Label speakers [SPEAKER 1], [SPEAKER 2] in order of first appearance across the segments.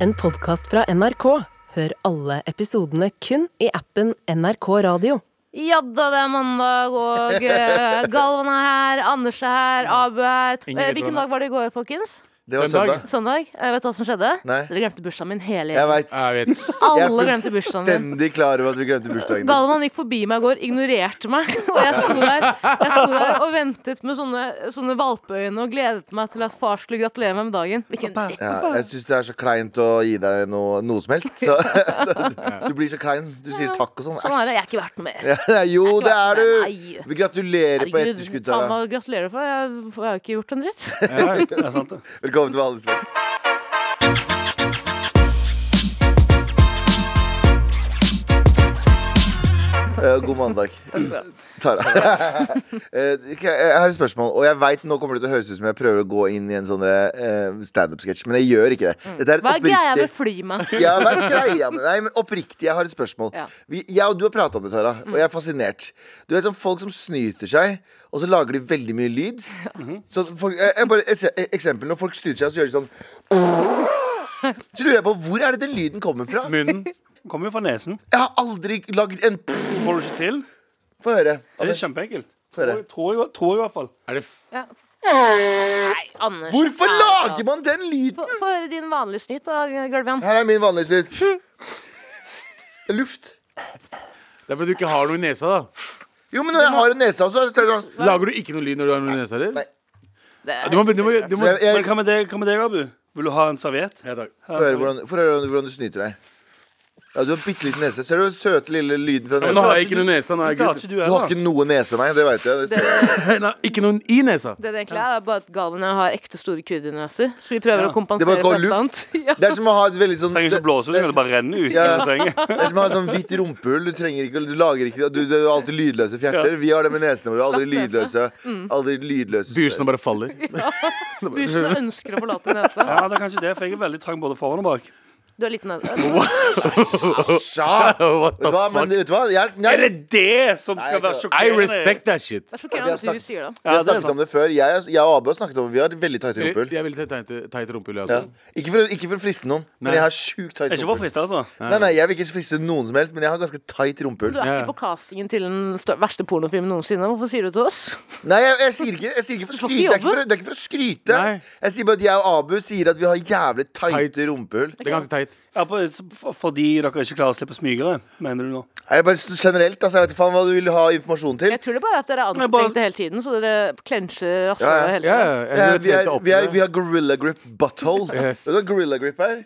[SPEAKER 1] en podkast fra NRK. Hør alle episodene kun i appen NRK Radio.
[SPEAKER 2] Ja da, det er mandag, og eh, Galvan er her, Anders er her,
[SPEAKER 3] Mm.
[SPEAKER 2] Abu er her. To-
[SPEAKER 4] Ingrid
[SPEAKER 2] eh, Hvilken
[SPEAKER 4] Trondheim.
[SPEAKER 2] dag var det i går, folkens?
[SPEAKER 3] Det var
[SPEAKER 4] Søndag.
[SPEAKER 3] søndag.
[SPEAKER 2] Søndag? Eh, Vet du hva som skjedde?
[SPEAKER 3] Nei.
[SPEAKER 2] Dere glemte bursdagen min hele
[SPEAKER 3] Jeg
[SPEAKER 2] gjengen.
[SPEAKER 3] veit.
[SPEAKER 4] Jeg vet.
[SPEAKER 3] Jeg
[SPEAKER 2] Alle
[SPEAKER 3] er
[SPEAKER 2] glemte bursdagen min.
[SPEAKER 3] fullstendig klar over at vi glemte bursdagen din.
[SPEAKER 2] Galvan gikk forbi meg i går, ignorerte meg. Og jeg sto der, jeg sto der og ventet med sånne, sånne valpeøyne og gledet meg til at far skulle gratulere meg med dagen. Hvilken dritt.
[SPEAKER 3] Ja, jeg syns det er så kleint å gi deg noe, noe som helst. Så, så, du blir så klein. Du sier takk og sånn.
[SPEAKER 2] Sånn er det. Jeg er ikke verdt noe mer.
[SPEAKER 3] Ja, jo,
[SPEAKER 2] Jeg
[SPEAKER 3] det
[SPEAKER 2] er
[SPEAKER 3] er
[SPEAKER 2] ikke verdt
[SPEAKER 3] du!
[SPEAKER 2] det, nei.
[SPEAKER 3] Vi gratulerer på
[SPEAKER 2] Herregud,
[SPEAKER 3] etterskudd.
[SPEAKER 2] ta
[SPEAKER 3] Tara.
[SPEAKER 2] meg og gratulerer for. Jeg, for jeg har jo ikke gjort en dritt.
[SPEAKER 4] Ja, det er sant, det.
[SPEAKER 3] Velkommen til Valdes fest. Eh, God mandag. Tara. Eh, ok, Jeg har et spørsmål, og jeg vet, nå kommer det til å høres ut som jeg prøver å gå inn i en sånn eh, standup-sketsj, men jeg gjør ikke det. Dette er et
[SPEAKER 2] Mm. Hva er greia
[SPEAKER 3] oppriktig
[SPEAKER 2] med flymenn?
[SPEAKER 3] ja, hva er greia med Nei, men oppriktig, jeg har et spørsmål.
[SPEAKER 2] Ja.
[SPEAKER 3] Vi, jeg og du har prata om det, Tara, og jeg er fascinert. Du vet sånn folk som snyter seg, og så lager de veldig mye lyd. Så folk, jeg, jeg bare, et se- et eksempel, når folk snyter seg, så gjør de sånn Så lurer jeg på hvor er det den lyden kommer fra?
[SPEAKER 4] Munnen kommer jo fra nesen.
[SPEAKER 3] Jeg har aldri lagd en
[SPEAKER 4] Får du ikke til?
[SPEAKER 3] Få høre.
[SPEAKER 4] Det er
[SPEAKER 3] Anders.
[SPEAKER 4] kjempeenkelt.
[SPEAKER 3] Få høre.
[SPEAKER 4] Tror- Tror jeg, tror jeg i hvert fall.
[SPEAKER 2] Ja. Nei, Anders.
[SPEAKER 3] Hvorfor
[SPEAKER 2] Ja, ja.
[SPEAKER 3] lager man den lyden?
[SPEAKER 2] Få få høre din vanlige snytt, da, Gulvian.
[SPEAKER 3] Her er min vanlige lyd. Det er Luft.
[SPEAKER 5] Det er fordi du ikke har noe i nesa, da.
[SPEAKER 3] Jo, men når jeg har en nese også, så er det sånn
[SPEAKER 5] Lager du ikke noe lyd når du har noe i nesa, eller?
[SPEAKER 3] Nei.
[SPEAKER 5] Ja, Du må, du må, du må
[SPEAKER 3] Jeg- jeg-
[SPEAKER 4] Men hva med deg, hva med deg Abu? Vil du ha en serviett?
[SPEAKER 5] ja, takk.
[SPEAKER 3] Få høre hvordan, få høre hvordan- hvordan du snyter deg. Ja, Du har bitte liten nese. Ser du den søte lille lyden fra
[SPEAKER 5] Nå
[SPEAKER 3] nesa?
[SPEAKER 5] har jeg ikke noe i nesa. Nå er jeg
[SPEAKER 4] Klarer
[SPEAKER 5] gutt.
[SPEAKER 4] ikke du
[SPEAKER 3] Du har
[SPEAKER 4] heller?
[SPEAKER 3] ikke noe nese, nei. Det veit jeg. Det ser jeg.
[SPEAKER 5] Nei, ikke noe i nesa.
[SPEAKER 2] Det det egentlig er, er bare at Galvan og jeg har ekte store kuddineser. Så vi prøver
[SPEAKER 4] Ja.
[SPEAKER 2] å
[SPEAKER 3] Det
[SPEAKER 2] kompensere
[SPEAKER 3] bare går
[SPEAKER 2] for sånn et
[SPEAKER 3] luft.
[SPEAKER 2] annet. Ja.
[SPEAKER 3] Det er som å ha et veldig sånn
[SPEAKER 4] Trenger ikke å blåse ut,
[SPEAKER 3] det,
[SPEAKER 4] det
[SPEAKER 3] er
[SPEAKER 4] kan bare renne ut.
[SPEAKER 3] Ja, ja.
[SPEAKER 4] når du trenger.
[SPEAKER 3] som- det er som å ha sånn hvitt rumpehull. Du trenger ikke, du lager ikke Du, du har alltid lydløse fjerter. Vi har det med nesene våre. Aldri lydløse.
[SPEAKER 2] Mm.
[SPEAKER 3] Aldri lydløse
[SPEAKER 5] Bursene bare faller.
[SPEAKER 2] Bursene ønsker å forlate nesa.
[SPEAKER 4] Ja, det er kanskje det, for jeg er veldig trang både foran og bak.
[SPEAKER 2] Du er liten nese.
[SPEAKER 3] Sja!
[SPEAKER 5] What
[SPEAKER 3] Vet du
[SPEAKER 5] the
[SPEAKER 3] hva? Men
[SPEAKER 5] fuck?
[SPEAKER 3] vet du hva? Jeg,
[SPEAKER 4] Er
[SPEAKER 3] jeg,
[SPEAKER 4] det det som skal
[SPEAKER 3] Nei,
[SPEAKER 4] være
[SPEAKER 3] jeg-
[SPEAKER 5] I
[SPEAKER 4] sjokkerende?
[SPEAKER 5] respect that shit.
[SPEAKER 2] Det er
[SPEAKER 3] Ja, vi har
[SPEAKER 2] sjokkerende at du
[SPEAKER 3] snakket-
[SPEAKER 2] sier det.
[SPEAKER 3] vi
[SPEAKER 4] Ja,
[SPEAKER 3] har
[SPEAKER 4] det er
[SPEAKER 3] snakket
[SPEAKER 4] sant.
[SPEAKER 3] om det før. Jeg, jeg og Abu har snakket om Vi har et veldig tight
[SPEAKER 5] Jeg
[SPEAKER 3] rumpehull.
[SPEAKER 5] vil ta teit rumpehull, jeg
[SPEAKER 3] Ja.
[SPEAKER 5] også.
[SPEAKER 3] Ikke, for, ikke for å friste noen, men
[SPEAKER 5] Nei.
[SPEAKER 3] jeg har sjukt tight
[SPEAKER 4] Det er ikke for å
[SPEAKER 3] rumpehull.
[SPEAKER 4] friste, altså.
[SPEAKER 3] Nei, nei, jeg vil ikke friste noen som helst, men jeg har ganske tight rumpehull.
[SPEAKER 2] Du er
[SPEAKER 5] Ja, ja.
[SPEAKER 2] ikke på castingen til den stør- verste pornofilmen noensinne. Hvorfor sier du det til oss?
[SPEAKER 3] Nei, jeg, jeg, sier ikke, jeg sier ikke for å
[SPEAKER 2] skal
[SPEAKER 3] skryte.
[SPEAKER 2] ikke
[SPEAKER 3] Det er
[SPEAKER 2] jobbe?
[SPEAKER 3] ikke for, å- det er ikke for å skryte.
[SPEAKER 5] Nei.
[SPEAKER 3] Jeg sier bare at jeg og Abu sier at vi har jævlig tighte
[SPEAKER 5] Tight.
[SPEAKER 3] rumpehull.
[SPEAKER 5] Det er ganske teit.
[SPEAKER 4] Ja, på, for- fordi dere ikke klarer å slippe smygere, mener du nå?
[SPEAKER 3] Nei, Jeg bare s- generelt, altså, jeg vet ikke faen hva du vil ha informasjon til.
[SPEAKER 2] Jeg tror det bare er at dere er
[SPEAKER 4] Men bare-
[SPEAKER 2] anstrengte hele tiden, så dere klensjer
[SPEAKER 3] Ja, ja.
[SPEAKER 2] rasshølet hele
[SPEAKER 5] Ja,
[SPEAKER 2] tiden.
[SPEAKER 5] ja,
[SPEAKER 3] Ja,
[SPEAKER 5] jeg
[SPEAKER 3] Eh, vi,
[SPEAKER 5] vet
[SPEAKER 3] er,
[SPEAKER 5] helt opp
[SPEAKER 3] vi, er,
[SPEAKER 5] med
[SPEAKER 3] vi har gorilla grip butthole.
[SPEAKER 5] Yes.
[SPEAKER 3] Vet du hva gorilla grip er?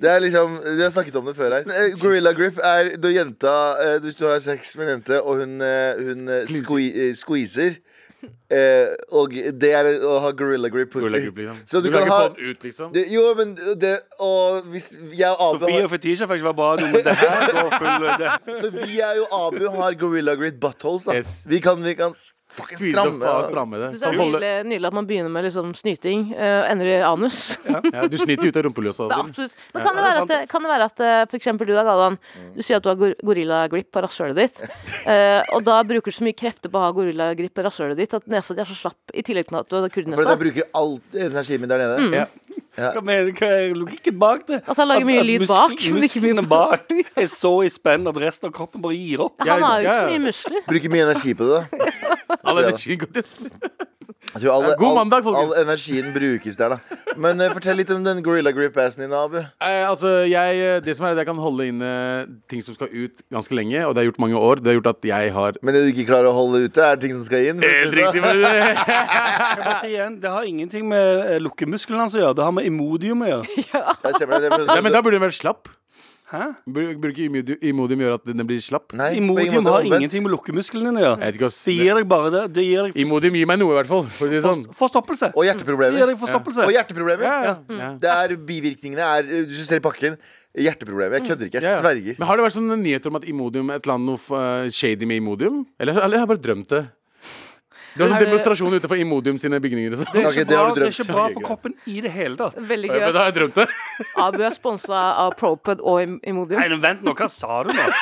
[SPEAKER 3] Det er liksom, Vi har snakket om det før her. Eh, Gorilla grip er når jenta eh, Hvis du har sex med en jente, og hun, eh, hun eh, sque- eh, squeezer eh, Og det er å ha gorilla grip pussy.
[SPEAKER 5] Gorilla grip, liksom.
[SPEAKER 3] Så
[SPEAKER 5] Du
[SPEAKER 3] du,
[SPEAKER 5] kan
[SPEAKER 3] kan
[SPEAKER 5] ikke
[SPEAKER 3] ha
[SPEAKER 5] få den ut, liksom.
[SPEAKER 3] det, Jo, men det Og hvis jeg og Abu har-
[SPEAKER 4] Sofie og Fetisha faktisk var bra, du, men det her går full det.
[SPEAKER 3] Så vi er jo Abu har Gorilla Grid buttholes. Da.
[SPEAKER 5] Yes.
[SPEAKER 3] Vi kan, vi kan s- fucking
[SPEAKER 5] Fyre og
[SPEAKER 3] stramme.
[SPEAKER 5] faen
[SPEAKER 3] ja.
[SPEAKER 5] stramme det.
[SPEAKER 2] Jeg synes det er
[SPEAKER 5] Holde-
[SPEAKER 2] nydelig, nydelig at man begynner med liksom snyting eh, og ender i anus.
[SPEAKER 5] Ja, Du sniter ut av rumpehullet
[SPEAKER 2] Det
[SPEAKER 5] også.
[SPEAKER 2] er
[SPEAKER 5] Adrian.
[SPEAKER 2] absolutt. Men kan det være at, det- kan det være at eh, for eksempel du da, Galvan,
[SPEAKER 5] Mm.
[SPEAKER 2] du sier at du har gor- gorilla grip på rasshølet ditt, eh, og da bruker du så mye krefter på å ha gorilla grip på rasshølet ditt at nesa di er så slapp, i tillegg til at du har
[SPEAKER 3] For da
[SPEAKER 2] kurdnesa.
[SPEAKER 3] bruker all energien min der nede.
[SPEAKER 5] Mm. Ja.
[SPEAKER 4] Hva, mener, hva er logikken bak det?
[SPEAKER 2] At Altså, han lager mye lyd bak,
[SPEAKER 4] muskl-
[SPEAKER 2] men ikke mye
[SPEAKER 4] Musklene bak er så i spenn at resten av kroppen bare gir opp.
[SPEAKER 2] Han har jo
[SPEAKER 5] Ja,
[SPEAKER 2] ikke
[SPEAKER 5] ja.
[SPEAKER 2] så mye muskler.
[SPEAKER 3] Bruker mye energi på det. da.
[SPEAKER 5] Alle er ikke gode til-
[SPEAKER 3] Jeg tror alle,
[SPEAKER 5] Ja, god
[SPEAKER 3] all-
[SPEAKER 5] mandag, folkens.
[SPEAKER 3] All energien brukes der, da. Men eh, fortell litt om den Gorilla Grip-assen din, Abu.
[SPEAKER 5] Eh, altså, jeg, eh, det som er at jeg kan holde inne ting som skal ut ganske lenge, og det har jeg gjort mange år. Det har gjort at jeg har
[SPEAKER 3] Men det du ikke klarer å holde ute, er ting som skal inn. for å si
[SPEAKER 5] Helt
[SPEAKER 3] det sånn.
[SPEAKER 5] riktig. men det-
[SPEAKER 4] Jeg bare sier igjen, Det har ingenting med eh, lukkemusklene hans å gjøre. Det har med imodium å gjøre.
[SPEAKER 3] Ja, stemmer det. det
[SPEAKER 5] Nei, men da burde den være slapp.
[SPEAKER 4] Hæ?
[SPEAKER 5] Bur- Burde ikke imodi- imodium gjøre at den blir slapp?
[SPEAKER 3] Nei, på ingen
[SPEAKER 4] Imodium
[SPEAKER 3] måte
[SPEAKER 4] har
[SPEAKER 3] omvendt.
[SPEAKER 4] ingenting med lukkemusklene dine å
[SPEAKER 5] Jeg
[SPEAKER 4] gjøre.
[SPEAKER 5] vet ikke
[SPEAKER 4] Det
[SPEAKER 5] ass.
[SPEAKER 4] gir deg bare det. Det gir deg
[SPEAKER 5] Imodium gir meg noe, i hvert fall. For å si det sånn.
[SPEAKER 4] forst- forstoppelse. Det
[SPEAKER 3] Og
[SPEAKER 4] gir
[SPEAKER 3] hjerteproblemer.
[SPEAKER 4] deg forstoppelse.
[SPEAKER 3] Og hjerteproblemer.
[SPEAKER 5] Ja, ja, ja.
[SPEAKER 3] Det er bivirkningene er Du ser i pakken. Hjerteproblemer. Jeg kødder ikke.
[SPEAKER 5] Ja,
[SPEAKER 3] Jeg
[SPEAKER 5] ja.
[SPEAKER 3] sverger.
[SPEAKER 5] Men har det vært sånne nyheter om at Imodium et eller annet noe eh, shady med Imodium? Eller, eller har jeg bare drømt det? Det var sånn demonstrasjon utenfor Imodium sine bygninger. og sånn.
[SPEAKER 4] Det er,
[SPEAKER 3] Ok,
[SPEAKER 4] ikke
[SPEAKER 3] det har
[SPEAKER 4] bra,
[SPEAKER 3] du
[SPEAKER 4] det er
[SPEAKER 3] drømt.
[SPEAKER 4] ikke bra
[SPEAKER 5] Ok,
[SPEAKER 4] for
[SPEAKER 5] greit.
[SPEAKER 4] kroppen i det hele tatt.
[SPEAKER 2] Veldig
[SPEAKER 5] Men
[SPEAKER 2] gøy.
[SPEAKER 5] da har jeg drømt det.
[SPEAKER 2] Abu er sponsa av Proped og Im- Imodium.
[SPEAKER 4] Nei, men vent nå, hva sa du nå?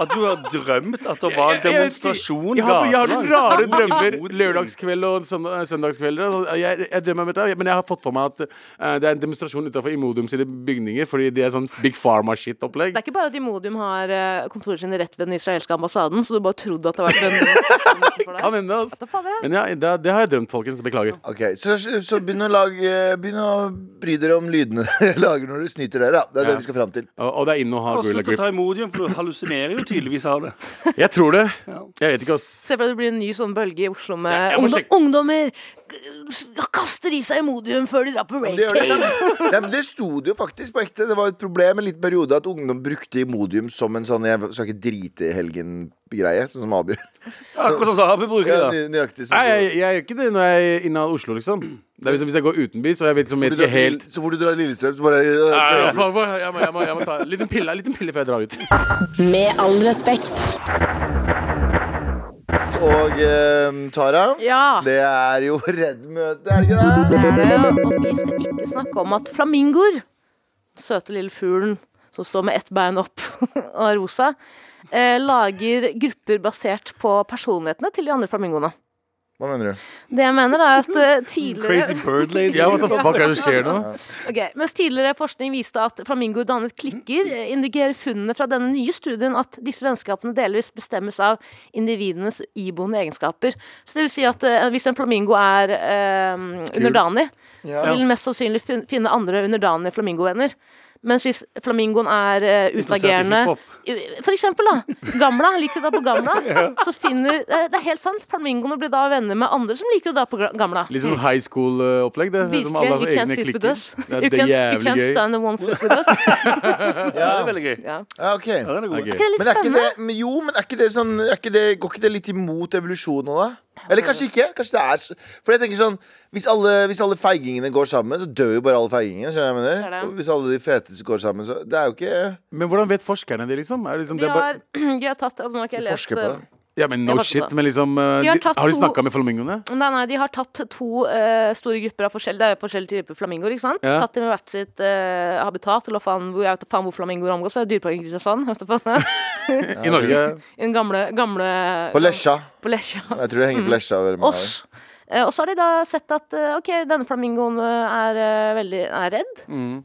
[SPEAKER 4] At du har drømt at det var en
[SPEAKER 5] Jeg- jeg-
[SPEAKER 4] demonstrasjon
[SPEAKER 5] Jeg har, jeg har noen rare
[SPEAKER 4] gatelangs?
[SPEAKER 5] drømmer lørdagskveld og søndag, søndagskvelder. og Jeg, jeg drømmer om dette, men jeg har fått for meg at eh, det er en demonstrasjon utenfor Imodium sine bygninger, fordi det er sånn Big Pharma-shit-opplegg.
[SPEAKER 2] Det er ikke bare at Imodium har eh, kontoret sine rett ved den israelske ambassaden, så du bare trodde at det var en demonstrasjon utenfor
[SPEAKER 5] Kan
[SPEAKER 2] der.
[SPEAKER 5] hende, ass.
[SPEAKER 2] Da fader, ja.
[SPEAKER 5] Men ja, det, det har jeg drømt, folkens. Beklager.
[SPEAKER 3] Ok, Så, så begynn, å lage, begynn å bry dere om lydene dere lager når dere snyter dere. da. Det er
[SPEAKER 5] Ja.
[SPEAKER 3] det vi skal fram til.
[SPEAKER 5] Og, og det er inne å ha
[SPEAKER 4] Og
[SPEAKER 5] gorilla
[SPEAKER 4] Slutt å
[SPEAKER 5] grip.
[SPEAKER 4] ta Imodium, for du hallusinerer jo tydeligvis av det.
[SPEAKER 5] Jeg tror det.
[SPEAKER 4] Ja.
[SPEAKER 5] Jeg vet ikke, ass.
[SPEAKER 2] Se for deg at det blir en ny sånn bølge i Oslo med
[SPEAKER 5] jeg må
[SPEAKER 2] ungdom,
[SPEAKER 5] sjekke.
[SPEAKER 2] ungdommer g- kaster i seg Imodium før de drar på
[SPEAKER 3] Det, gjør det.
[SPEAKER 2] rake.
[SPEAKER 3] Nei, men det sto det jo faktisk på ekte. Det var et problem en liten periode at ungdom brukte Imodium som en sånn 'jeg skal ikke drite i helgen'-greie. Sånn som Abu.
[SPEAKER 4] Akkurat sånn som Abu bruker
[SPEAKER 3] Ja,
[SPEAKER 4] det.
[SPEAKER 3] nø- nøyaktig sånn.
[SPEAKER 5] Nei, jeg, jeg gjør ikke det når jeg er inne i Oslo, liksom. Det er liksom Hvis jeg går utenbys, og jeg vet, som
[SPEAKER 3] Hvor
[SPEAKER 5] vet
[SPEAKER 3] du
[SPEAKER 5] ikke
[SPEAKER 3] drar til-
[SPEAKER 5] helt
[SPEAKER 3] Så fort du drar til Lillestrøm, så bare øh,
[SPEAKER 5] Nei, jeg må, jeg må, jeg må, jeg må ta en liten pille, en liten pille før jeg drar ut.
[SPEAKER 1] Med all respekt.
[SPEAKER 3] Og eh, Tara,
[SPEAKER 2] Ja.
[SPEAKER 3] det er jo Redd møte, er det ikke det?
[SPEAKER 2] Det er det, ja. Og vi skal ikke snakke om at flamingoer, den søte lille fuglen som står med ett bein opp og er rosa, eh, lager grupper basert på personlighetene til de andre flamingoene.
[SPEAKER 3] Hva mener du?
[SPEAKER 2] Det jeg mener, er at eh, tidligere
[SPEAKER 4] Crazy bird lady.
[SPEAKER 5] Ja, what the fuck er det som skjer nå?
[SPEAKER 2] Ok, Mens tidligere forskning viste at flamingoer dannet klikker,
[SPEAKER 4] Mm.
[SPEAKER 2] eh, indikerer funnene fra denne nye studien at disse vennskapene delvis bestemmes av individenes iboende egenskaper. Så det vil si at eh, hvis en flamingo er eh, underdanig, så vil den mest sannsynlig fin- finne andre underdanige flamingovenner. Mens hvis flamingoen er eh,
[SPEAKER 4] Interessert i
[SPEAKER 2] utagerende
[SPEAKER 4] hiphop.
[SPEAKER 2] For eksempel, da. Gamla. Liker å dra på Gamla. Så finner Det er- det er helt sant. Flamingoene blir da venner med andre som liker å dra på gra- Gamla.
[SPEAKER 5] Litt sånn high school-opplegg, det. Som alle
[SPEAKER 2] Virkelig.
[SPEAKER 5] har
[SPEAKER 2] You
[SPEAKER 5] egne
[SPEAKER 2] can't sit with
[SPEAKER 5] klikker.
[SPEAKER 2] us.
[SPEAKER 5] Ja,
[SPEAKER 2] You
[SPEAKER 5] det er
[SPEAKER 2] can't, you
[SPEAKER 5] jævlig
[SPEAKER 2] can't
[SPEAKER 5] gøy.
[SPEAKER 2] stand on one foot with us.
[SPEAKER 4] Ja, det er veldig gøy.
[SPEAKER 2] Ja.
[SPEAKER 3] Ja, ok.
[SPEAKER 4] Ja, den er
[SPEAKER 5] Det er
[SPEAKER 4] god.
[SPEAKER 5] gøy.
[SPEAKER 2] Det er litt
[SPEAKER 3] Men er ikke
[SPEAKER 2] spennende.
[SPEAKER 3] det, men jo, men er ikke det sånn er ikke det, Går ikke det litt imot evolusjonen nå, da? Eller kanskje ikke? Kanskje det er så- For jeg tenker sånn hvis alle, hvis alle feigingene går sammen, så dør jo bare alle feigingene. Skjønner du hva
[SPEAKER 2] Det
[SPEAKER 3] jeg
[SPEAKER 2] er
[SPEAKER 3] mener?
[SPEAKER 2] det.
[SPEAKER 3] Og hvis alle de feteste går sammen, så Det er jo ikke
[SPEAKER 5] Men hvordan vet forskerne det, liksom? Er det liksom
[SPEAKER 2] Vi
[SPEAKER 5] det er bare,
[SPEAKER 2] har, vi har tatt altså, nå har ikke jeg
[SPEAKER 3] Vi
[SPEAKER 2] lest,
[SPEAKER 3] forsker på det.
[SPEAKER 5] ja, men no
[SPEAKER 2] Jeg har
[SPEAKER 5] shit,
[SPEAKER 2] tatt-
[SPEAKER 5] men liksom eh,
[SPEAKER 2] Vi har
[SPEAKER 5] de-
[SPEAKER 2] tatt
[SPEAKER 5] Har du
[SPEAKER 2] to-
[SPEAKER 5] snakka med flamingoene?
[SPEAKER 2] Nei, nei, De har tatt to eh, store grupper av forskjell, det er jo forskjellige typer flamingoer. ikke sant?
[SPEAKER 5] Ja.
[SPEAKER 2] Satt dem i hvert sitt eh, habitat. eller faen, hvor, Jeg vet da faen hvor flamingoer omgås. Det er Dyreparken i Kristiansand. vet du faen.
[SPEAKER 5] I Norge?
[SPEAKER 2] I den gamle, gamle
[SPEAKER 3] På Lesja.
[SPEAKER 2] På Lesja.
[SPEAKER 3] Jeg tror det
[SPEAKER 2] Mm.
[SPEAKER 3] henger på Lesja. veldig mange
[SPEAKER 2] Oss. Eh, og så har de da sett at eh, ok, denne flamingoen eh, er eh, veldig er redd.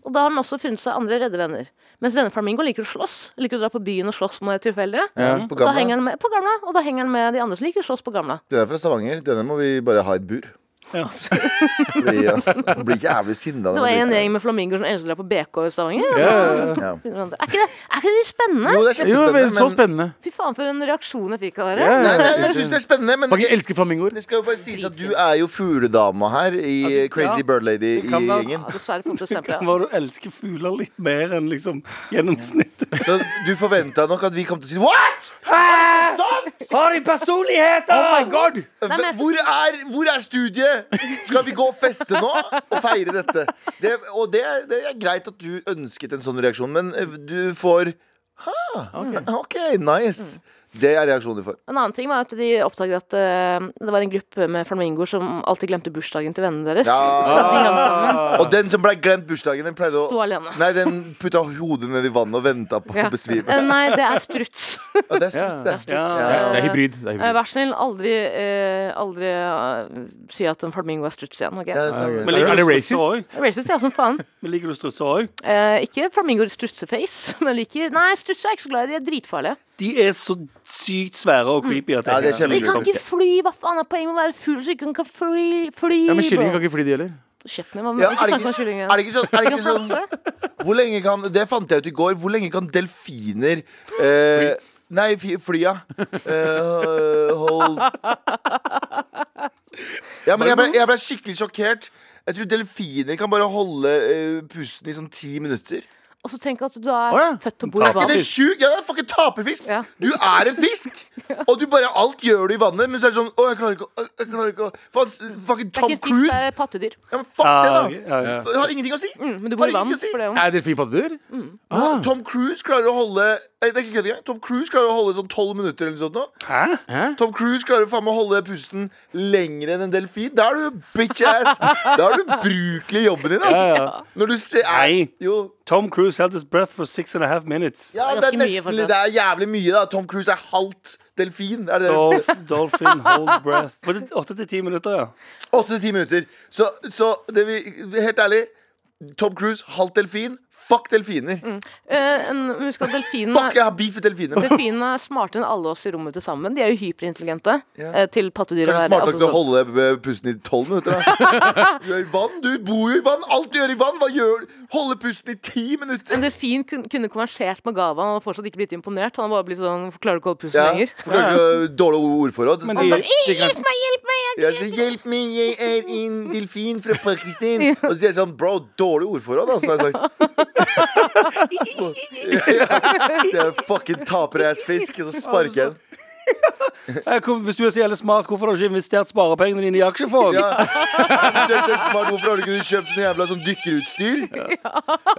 [SPEAKER 2] Og da har den også funnet seg andre redde venner. Mens denne flamingoen liker å slåss. Liker å dra på byen og slåss med tilfeldige.
[SPEAKER 5] Ja.
[SPEAKER 3] ganger. På
[SPEAKER 2] Da henger den
[SPEAKER 3] gamle.
[SPEAKER 2] med, på gamla, og da henger den med de andre som liker å slåss på gamla.
[SPEAKER 3] Den er fra Stavanger. Denne må vi bare ha i et bur.
[SPEAKER 4] Ja.
[SPEAKER 3] Fordi, ja, man blir jævlig sinna.
[SPEAKER 2] Det var en gjeng med flamingoer som elsket å dra på BK i Stavanger.
[SPEAKER 5] Ja, ja, ja.
[SPEAKER 3] Ja.
[SPEAKER 2] Er ikke det, er ikke det litt spennende?
[SPEAKER 3] Jo, det er
[SPEAKER 5] Jo,
[SPEAKER 3] kjempespennende.
[SPEAKER 5] men, så
[SPEAKER 3] men-
[SPEAKER 5] spennende.
[SPEAKER 2] Fy faen for en reaksjon jeg fikk av dere.
[SPEAKER 5] Ja, ja,
[SPEAKER 3] Nei,
[SPEAKER 5] ja.
[SPEAKER 3] nei, jeg syns det er spennende, men
[SPEAKER 5] Fucking elsker flamingoer.
[SPEAKER 3] det skal jo bare sies at du er jo fugledama her i Crazy Bird Lady i
[SPEAKER 4] Du kan da-
[SPEAKER 3] gjengen.
[SPEAKER 2] Ja, dessverre fått et stempel. Ja.
[SPEAKER 4] Hva du elsker fugler litt mer enn liksom gjennomsnittet.
[SPEAKER 3] Så du forventa nok at vi kom til å si What?!
[SPEAKER 4] Har de personligheter?!
[SPEAKER 5] God!
[SPEAKER 2] men jeg synes-
[SPEAKER 3] Hvor er, hvor er studiet?! Skal vi gå og feste nå og feire dette? Det, og det, er- det er greit at du ønsket en sånn reaksjon, men eh, du får Ha! OK, nice. Det er reaksjonen du får.
[SPEAKER 2] En annen ting var at de oppdaget at eh, det var en gruppe med flamingoer som alltid glemte bursdagen til vennene deres.
[SPEAKER 3] Ja.
[SPEAKER 2] De hang sammen,
[SPEAKER 3] Og den som ble glemt bursdagen, den pleide
[SPEAKER 2] sto
[SPEAKER 3] å
[SPEAKER 2] alene.
[SPEAKER 3] Nei, den putta hodet ned i vannet og venta på
[SPEAKER 2] Ja.
[SPEAKER 3] å besvime.
[SPEAKER 2] Eh, Nei, det er struts.
[SPEAKER 3] Ja, det er slutt, det.
[SPEAKER 4] Ja.
[SPEAKER 5] Det er hybrid. Det er
[SPEAKER 2] Eh,
[SPEAKER 5] hybrid.
[SPEAKER 2] Vær så snill, aldri, eh, aldri eh, si at en flamingo er struts igjen. ok?
[SPEAKER 3] Ja, det er sant.
[SPEAKER 4] Men liker
[SPEAKER 5] Er det
[SPEAKER 4] du
[SPEAKER 5] racist?
[SPEAKER 4] strutser òg?
[SPEAKER 2] Racist, ja, som faen.
[SPEAKER 4] Men liker du strutser òg?
[SPEAKER 2] Eh, ikke flamingoer strutseface, men liker Nei, strutser er jeg ikke så glad i. De er dritfarlige.
[SPEAKER 4] De er så sykt svære og creepy. at jeg-
[SPEAKER 3] Ja, det er
[SPEAKER 2] De
[SPEAKER 3] kjempe-
[SPEAKER 2] kan ikke fly! Hva faen er poenget med å være fugl så ikke kan fly? fly
[SPEAKER 5] Ja, men
[SPEAKER 2] bro?
[SPEAKER 5] kyllinger kan ikke fly, de heller.
[SPEAKER 2] Kjeften din, hva-
[SPEAKER 3] Ja,
[SPEAKER 2] ikke
[SPEAKER 3] er, det
[SPEAKER 2] snakk om
[SPEAKER 3] ikke,
[SPEAKER 2] kyllingen.
[SPEAKER 3] er det ikke sånn, er det
[SPEAKER 2] Kan
[SPEAKER 3] ikke sånn
[SPEAKER 2] flakse?
[SPEAKER 3] Hvor lenge kan, det fant jeg ut i går Hvor lenge kan delfiner eh, Nei, fly, fly ja eh, Hold ja, men jeg, ble, jeg ble skikkelig sjokkert Jeg tror delfiner kan bare holde eh, pusten i sånn ti minutter Er
[SPEAKER 2] Og så tenk at du er
[SPEAKER 5] Å, ja.
[SPEAKER 2] født til å bo i
[SPEAKER 3] ikke
[SPEAKER 2] vann.
[SPEAKER 3] det sjukt? Ja, det er fucking taperfisk
[SPEAKER 2] Ja.
[SPEAKER 3] Du er en fisk Og du bare, alt gjør du i vannet Men så er det sånn, åh, jeg klarer ikke, å- jeg klarer ikke å-» Faen,
[SPEAKER 2] Det
[SPEAKER 3] Fucking
[SPEAKER 2] er
[SPEAKER 3] Tom
[SPEAKER 2] ikke fisk,
[SPEAKER 3] Cruise
[SPEAKER 2] det er pattedyr.
[SPEAKER 3] ja, men Fuck det
[SPEAKER 4] Ah,
[SPEAKER 3] da
[SPEAKER 4] ok, ja, ja.
[SPEAKER 3] Det har ingenting å si
[SPEAKER 2] Mm, men du bor i
[SPEAKER 3] Har
[SPEAKER 2] vann.
[SPEAKER 3] ingenting å si.
[SPEAKER 2] For det er jo
[SPEAKER 5] Er delfin pattedyr?
[SPEAKER 3] Tom Cruise klarer å holde Nei, det er ikke kødd engang. Tom Cruise klarer å holde sånn tolv minutter eller noe sånt. nå.
[SPEAKER 4] Hæ?
[SPEAKER 5] Ah.
[SPEAKER 3] Tom Cruise klarer faen meg å holde pusten lenger enn en delfin. Da er du bitch ass! Da er du ubrukelig i jobben din, ass!
[SPEAKER 5] Ja, ja.
[SPEAKER 3] Når du ser
[SPEAKER 4] Nei.
[SPEAKER 3] Jo.
[SPEAKER 4] Tom Cruise held his breath for six and a half minutes.
[SPEAKER 3] Ja,
[SPEAKER 2] Det er
[SPEAKER 3] det er,
[SPEAKER 2] ganske mye
[SPEAKER 3] nesten,
[SPEAKER 2] fortsatt.
[SPEAKER 3] det er jævlig mye, da. Tom Cruise er halvt delfin. Er det det?
[SPEAKER 4] Dolph, dolphin hold breath. Var det Åtte til ti minutter, ja.
[SPEAKER 3] Åtte til ti minutter. Så, så det vi, helt ærlig Tom Cruise, halvt delfin. Fuck delfiner.
[SPEAKER 2] Eh, en- Husk at delfinen
[SPEAKER 3] Fuck,
[SPEAKER 2] er,
[SPEAKER 3] jeg har beef med delfiner.
[SPEAKER 2] delfinene er smartere enn alle oss i rommet til sammen. De er jo hyperintelligente eh, til pattedyr. å
[SPEAKER 3] Kanskje
[SPEAKER 2] være.
[SPEAKER 3] smart nok
[SPEAKER 2] Altså,
[SPEAKER 3] til å
[SPEAKER 2] sånn-
[SPEAKER 3] holde eh, pusten i tolv minutter. Da. Du gjør vann, du bor jo i vann. Alt du gjør i vann, hva gjør du? Holde pusten i ti minutter.
[SPEAKER 2] En delfin kun- kunne konversert med Gava og fortsatt ikke blitt imponert. Han hadde bare blitt sånn Hvorfor klarer du ikke å holde pusten
[SPEAKER 3] Ja,
[SPEAKER 2] lenger?
[SPEAKER 3] Forklarer ikke dårlig ordforråd.
[SPEAKER 4] Men
[SPEAKER 2] Sånn,
[SPEAKER 4] de, de kan,
[SPEAKER 3] Jeg sier 'hjelp meg, jeg er en delfin fra Pakistan'. Og så sier jeg sånn 'bro, dårlig ordforråd', altså. Har jeg sagt. Ja, ja. Fucking taperassfisk. Og så sparker jeg den.
[SPEAKER 4] Eh, hvor- hvis du er så jævlig smart, hvorfor har du ikke investert sparepengene dine i aksjefond?
[SPEAKER 3] Ja. Du er så smart, hvorfor har du ikke kjøpt noe jævla sånn dykkerutstyr?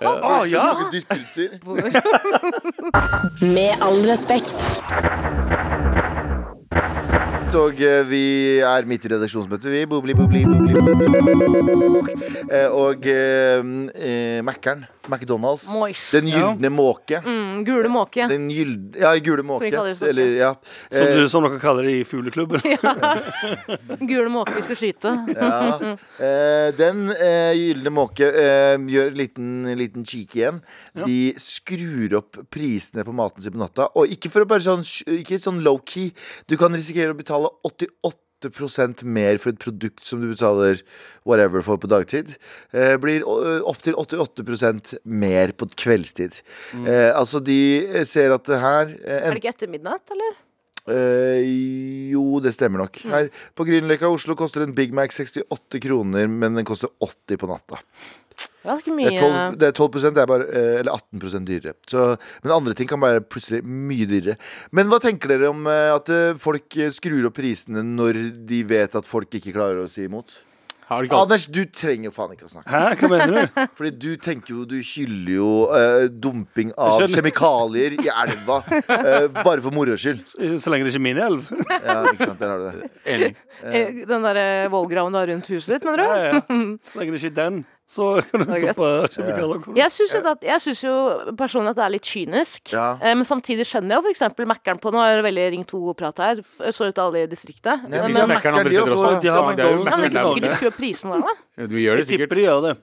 [SPEAKER 4] Å, ja.
[SPEAKER 3] Noe dykkerutstyr?
[SPEAKER 1] Med all respekt.
[SPEAKER 3] Og eh, vi er midt i redaksjonsmøtet, vi. Bobli, bobli, bobli, bobli. Eh, Og eh, eh, Mækkern, McDonald's.
[SPEAKER 2] Moist.
[SPEAKER 3] Den gylne måke.
[SPEAKER 2] Mm, Gule måke.
[SPEAKER 3] Den gyld... Ja, gule måke.
[SPEAKER 2] vi kaller det sånn,
[SPEAKER 3] Eller, ja.
[SPEAKER 4] Som,
[SPEAKER 3] Eh,
[SPEAKER 4] du, som dere kaller det i fugleklubben.
[SPEAKER 2] Gule måke vi skal skyte.
[SPEAKER 3] ja. Eh, den eh, gylne måke eh, gjør en liten, liten cheek igjen. De skrur opp prisene på maten sin på natta. Og ikke for å bare sånn, ikke sånn low-key. Du kan risikere å betale 88 mer for et produkt som du betaler whatever for på dagtid. Eh, blir opptil 88 mer på kveldstid. Eh, altså, de eh, ser at det her eh,
[SPEAKER 2] Er det ikke etter midnatt, eller?
[SPEAKER 3] Eh, jo, det stemmer nok. Her på Grünerløkka i Oslo koster en Big Mac 68 kroner, men den koster 80 på natta.
[SPEAKER 2] Ganske
[SPEAKER 3] Det er 12,
[SPEAKER 2] mye.
[SPEAKER 3] det er 12 det er bare, eh, eller 18 dyrere. Så, men andre ting kan være plutselig mye dyrere. Men hva tenker dere om eh, at eh, folk eh, skrur opp prisene når de vet at folk ikke klarer å si imot?
[SPEAKER 5] Har du ikke alt?
[SPEAKER 3] Anders, du trenger jo faen ikke å snakke.
[SPEAKER 4] Hæ, hva mener du?
[SPEAKER 3] Fordi du tenker jo, du hyller jo eh, dumping av
[SPEAKER 4] Jeg skjønner.
[SPEAKER 3] kjemikalier i elva. eh, bare for moro skyld.
[SPEAKER 4] Så lenge det ikke er min elv.
[SPEAKER 3] Ja, ikke sant, der har du det.
[SPEAKER 5] Enig.
[SPEAKER 2] Eh, Den derre vollgraven du har rundt huset ditt, mener du?
[SPEAKER 4] Ja, ja. Så lenge det ikke er den, så kan du
[SPEAKER 2] er greit.
[SPEAKER 4] dumpe kjemikalier.
[SPEAKER 2] Jeg syns jo, at- jeg synes jo personlig at det er litt kynisk.
[SPEAKER 3] Ja.
[SPEAKER 2] Eh, Men samtidig skjønner jeg jo f.eks. Mækkern på Nå er det veldig Ring 2-prat her. Sorry til alle i distriktet.
[SPEAKER 3] Nei,
[SPEAKER 2] men
[SPEAKER 3] vi
[SPEAKER 2] men
[SPEAKER 3] kan-
[SPEAKER 5] Mekkeren andre steder også.
[SPEAKER 4] De har
[SPEAKER 5] Ja, det er jo
[SPEAKER 2] men det
[SPEAKER 4] McDonald's.
[SPEAKER 2] er
[SPEAKER 5] Mekkeren
[SPEAKER 2] ikke
[SPEAKER 5] der
[SPEAKER 2] sikkert de
[SPEAKER 5] også.
[SPEAKER 2] skrur prisen der, da.
[SPEAKER 5] Ja, Du gjør det
[SPEAKER 4] Jeg
[SPEAKER 5] sikkert.
[SPEAKER 4] tipper de gjør det.